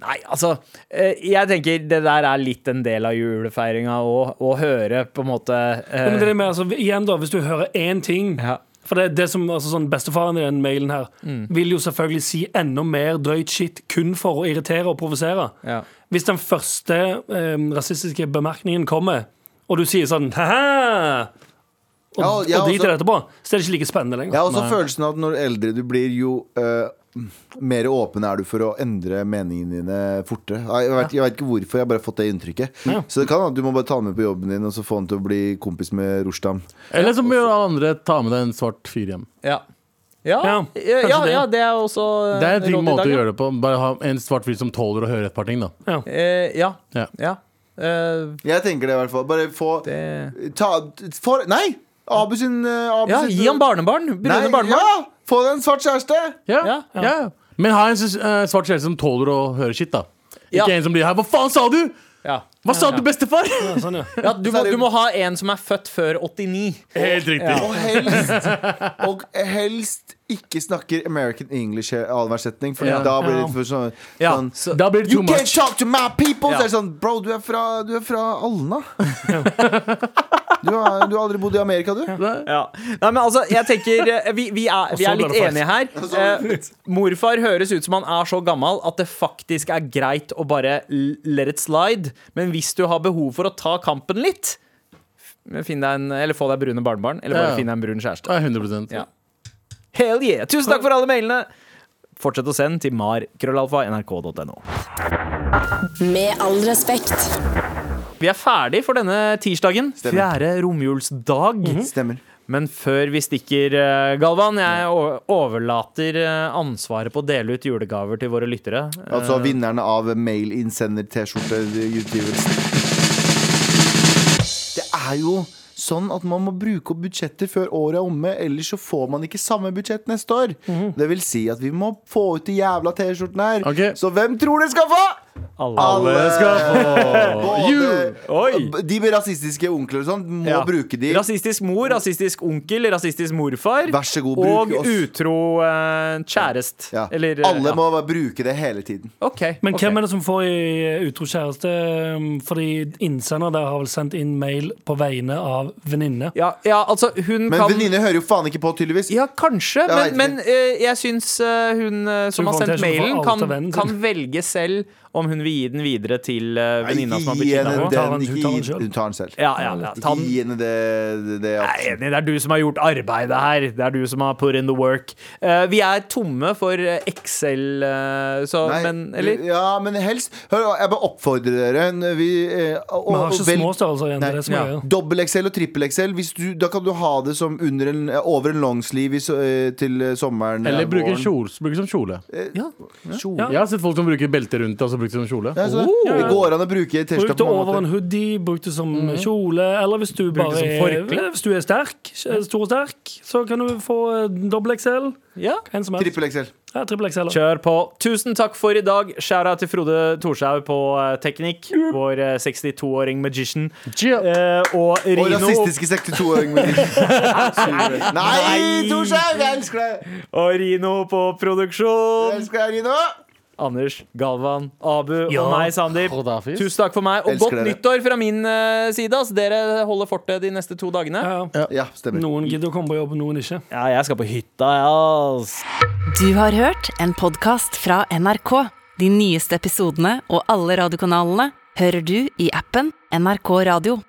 Speaker 4: Nei, altså eh, Jeg tenker det der er litt en del av julefeiringa òg. Å høre på en måte eh,
Speaker 3: Ja, men det er mer, altså, igjen da, Hvis du hører én ting
Speaker 4: ja. Mm.
Speaker 3: For det, det som, altså sånn Bestefaren i den mailen her vil jo selvfølgelig si enda mer drøyt shit kun for å irritere og provosere.
Speaker 4: Ja.
Speaker 3: Hvis den første eh, rasistiske bemerkningen kommer, og du sier sånn Haha! Og,
Speaker 5: Ja, altså- og- ja,
Speaker 3: og driter i
Speaker 5: også-
Speaker 3: det etterpå, så er det ikke like spennende
Speaker 5: Jeg
Speaker 3: lenger.
Speaker 5: har også følelsen av at når eldre du blir, jo eh, mer åpen er du for å endre meningene dine fortere. Nei, Jeg vet, jeg vet ikke hvorfor, jeg har bare fått det inntrykket. Så det kan at du må bare ta den med på jobben din og så få han til å bli kompis med Rushdam.
Speaker 6: Eller som gjør alle andre, ta med deg en svart fyr hjem.
Speaker 4: Ja. Ja,
Speaker 3: Ja,
Speaker 4: ja, ja,
Speaker 3: kanskje det.
Speaker 4: det er også eh,
Speaker 6: Det er en ting måte å
Speaker 4: ja.
Speaker 6: gjøre det på. Bare ha en svart fyr som tåler å høre et par ting, da.
Speaker 3: Ja.
Speaker 4: Eh, ja.
Speaker 6: Ja.
Speaker 4: ja. Eh,
Speaker 5: Jeg tenker det i hvert fall. Bare få
Speaker 4: det
Speaker 5: ta, for, Nei! Abu sin, eh, Abu
Speaker 4: Ja,
Speaker 5: sin
Speaker 4: gi ham barnebarn! Brune
Speaker 5: Nei,
Speaker 4: barnebarn.
Speaker 5: Ja! Få deg en svart kjæreste!
Speaker 6: Ja, ja.
Speaker 4: Ja.
Speaker 6: Men ha en s- eh, svart kjæreste som tåler å høre shit, da.
Speaker 4: Ja.
Speaker 6: Ikke en som blir her. Hva faen sa du?!
Speaker 4: Ja.
Speaker 6: Hva sa du, bestefar?!
Speaker 3: Sånn, ja.
Speaker 4: Ja, du, må, du må ha en som er født før 89.
Speaker 6: Helt riktig.
Speaker 5: Og helst, og helst ikke snakker American English i annenhver setning, for
Speaker 6: Ja.
Speaker 5: da blir det for sånn,
Speaker 4: Ja,
Speaker 5: sånn
Speaker 4: så-
Speaker 6: Da blir det
Speaker 5: You
Speaker 6: too
Speaker 5: can't
Speaker 6: much.
Speaker 5: talk to my people!
Speaker 4: Ja.
Speaker 5: Så er det sånn, bro, du er fra, du er fra Alna. Du har, du har aldri bodd i Amerika, du?
Speaker 4: Ja. Nei, men altså, jeg tenker eh, Vi, vi, er, vi
Speaker 3: så
Speaker 4: er
Speaker 3: ble
Speaker 4: litt
Speaker 3: det
Speaker 4: enige her. Eh, morfar høres ut som han er så gammel at det faktisk er greit å bare l- let it slide. Men hvis du har behov for å ta kampen litt, f- finn deg en, eller få deg brune barnebarn, eller
Speaker 6: Ja.
Speaker 4: bare finn deg en brun kjæreste.
Speaker 6: Ja, 100
Speaker 4: Ja. Hell yeah! Tusen takk for alle mailene! Fortsett å sende til mar.krøllalfa.nrk.no.
Speaker 7: Med all respekt.
Speaker 4: Vi er ferdig for denne tirsdagen.
Speaker 5: Stemmer.
Speaker 4: Fjerde romjulsdag.
Speaker 3: Mhm.
Speaker 5: Stemmer.
Speaker 4: Men før vi stikker, eh, Galvan, jeg o- overlater eh, ansvaret på å dele ut julegaver til våre lyttere.
Speaker 5: Altså vinnerne av mail-innsender-T-skjorte-utgivelsen. Det er jo sånn at man må bruke opp budsjetter før året er omme, ellers så får man ikke samme budsjett neste år.
Speaker 4: Mhm.
Speaker 5: Det vil si at vi må få ut de jævla T-skjortene her.
Speaker 6: Ok.
Speaker 5: Så hvem tror dere skal få?
Speaker 4: Alle.
Speaker 5: Både,
Speaker 4: Oi!
Speaker 5: b- de med rasistiske onkler og sånn, må
Speaker 4: Ja.
Speaker 5: bruke de.
Speaker 4: Rasistisk mor, rasistisk onkel, rasistisk morfar.
Speaker 5: Vær så god,
Speaker 4: og
Speaker 5: bruk oss.
Speaker 4: utro eh, kjærest.
Speaker 5: Ja.
Speaker 4: Eller, eh,
Speaker 5: Alle
Speaker 4: ja.
Speaker 5: må bare bruke det hele tiden.
Speaker 4: Ok,
Speaker 3: Men
Speaker 4: ok.
Speaker 3: hvem er det som får i eh, utro kjæreste? eh, Fordi innsender der har vel sendt inn mail på vegne av venninne.
Speaker 4: ja, ja, altså, hun
Speaker 5: Men
Speaker 4: kan
Speaker 5: venninne hører jo faen ikke på, tydeligvis.
Speaker 4: Ja, kanskje,
Speaker 5: Jeg
Speaker 4: men, men
Speaker 5: vet
Speaker 4: eh, jeg syns eh, hun eh, som
Speaker 3: Hun
Speaker 4: har
Speaker 3: får
Speaker 4: sendt
Speaker 3: T-skjorte for
Speaker 4: mailen,
Speaker 3: alt av
Speaker 4: kan,
Speaker 3: vennen sin.
Speaker 4: kan velge selv om hun vil gi den videre til eh,
Speaker 5: Nei,
Speaker 4: venninna som har
Speaker 5: Ikke gi
Speaker 4: blitt
Speaker 5: henne
Speaker 4: kidnappa.
Speaker 3: Hun tar den-
Speaker 5: den.
Speaker 3: hun
Speaker 5: Ikke
Speaker 3: tar den
Speaker 5: gi-
Speaker 3: selv.
Speaker 5: Hun tar den selv.
Speaker 4: Ja, ja, ja. Ta
Speaker 5: Ikke
Speaker 4: den.
Speaker 5: gi henne det, det, det
Speaker 4: Jeg er enig, det er du som har gjort arbeidet her. Det er du som har put in the work. Eh, vi er tomme for eh, Excel, eh, så
Speaker 5: Nei,
Speaker 4: Men eller?
Speaker 5: Ja, men helst Hør, jeg bare oppfordrer dere. når Vi, eh,
Speaker 3: Vi har
Speaker 5: og, og
Speaker 3: ikke
Speaker 5: vel-
Speaker 3: små størrelser igjen. Det
Speaker 5: Nei,
Speaker 3: er det som
Speaker 4: ja.
Speaker 3: er greia.
Speaker 5: Dobbel XL og trippel XL. Hvis du, da kan du ha det som under en, eh, over en longsleeve i, så- eh, til eh, sommeren.
Speaker 6: Eller
Speaker 5: eh,
Speaker 6: bruke
Speaker 5: våren.
Speaker 6: kjole. Bruke som kjole.
Speaker 5: Eh, Kjole.
Speaker 6: Jeg har sett folk som bruker belte rundt det, og så bruker det som kjole.
Speaker 5: Ja, så,
Speaker 4: Oh!
Speaker 3: ja, ja.
Speaker 5: Det går an å bruke T-skjorta
Speaker 3: Bruk det
Speaker 5: på
Speaker 3: over
Speaker 5: mange
Speaker 3: en
Speaker 5: måter.
Speaker 3: hoodie, bruk det som kjole, eller hvis du
Speaker 4: Bruk det
Speaker 3: bare
Speaker 4: som
Speaker 3: er,
Speaker 4: forkle.
Speaker 3: hvis du er sterk, stor og sterk, så kan du få eh, dobbel XL.
Speaker 4: Ja.
Speaker 3: En som helst.
Speaker 5: Trippel XL.
Speaker 3: Ja, trippel XL.
Speaker 4: Kjør på. Tusen takk for i dag. Skjæra til Frode Thorshaug på eh, teknikk. Vår eh, 62-åring magician. Eh, og
Speaker 5: Og
Speaker 4: Rino,
Speaker 5: rasistiske 62-åring. Nei, Torstein! Jeg elsker deg!
Speaker 4: og Rino på
Speaker 5: Jeg
Speaker 4: produksjon.
Speaker 5: elsker deg, Rino.
Speaker 4: Anders, Galvan, Abu
Speaker 3: Ja.
Speaker 4: og meg, Sandeep.
Speaker 6: Kadhafis.
Speaker 4: Tusen takk for meg, og
Speaker 5: Elsker
Speaker 4: godt
Speaker 5: dere.
Speaker 4: nyttår fra min eh, side. ass. dere holder fortet de neste to dagene.
Speaker 3: Ja, ja.
Speaker 5: Ja, stemmer.
Speaker 3: Noen gidder å komme på jobb, noen ikke.
Speaker 4: Ja, jeg skal på hytta, jeg, ass.
Speaker 1: Du har hørt en podkast fra NRK. De nyeste episodene og alle radiokanalene hører du i appen NRK Radio.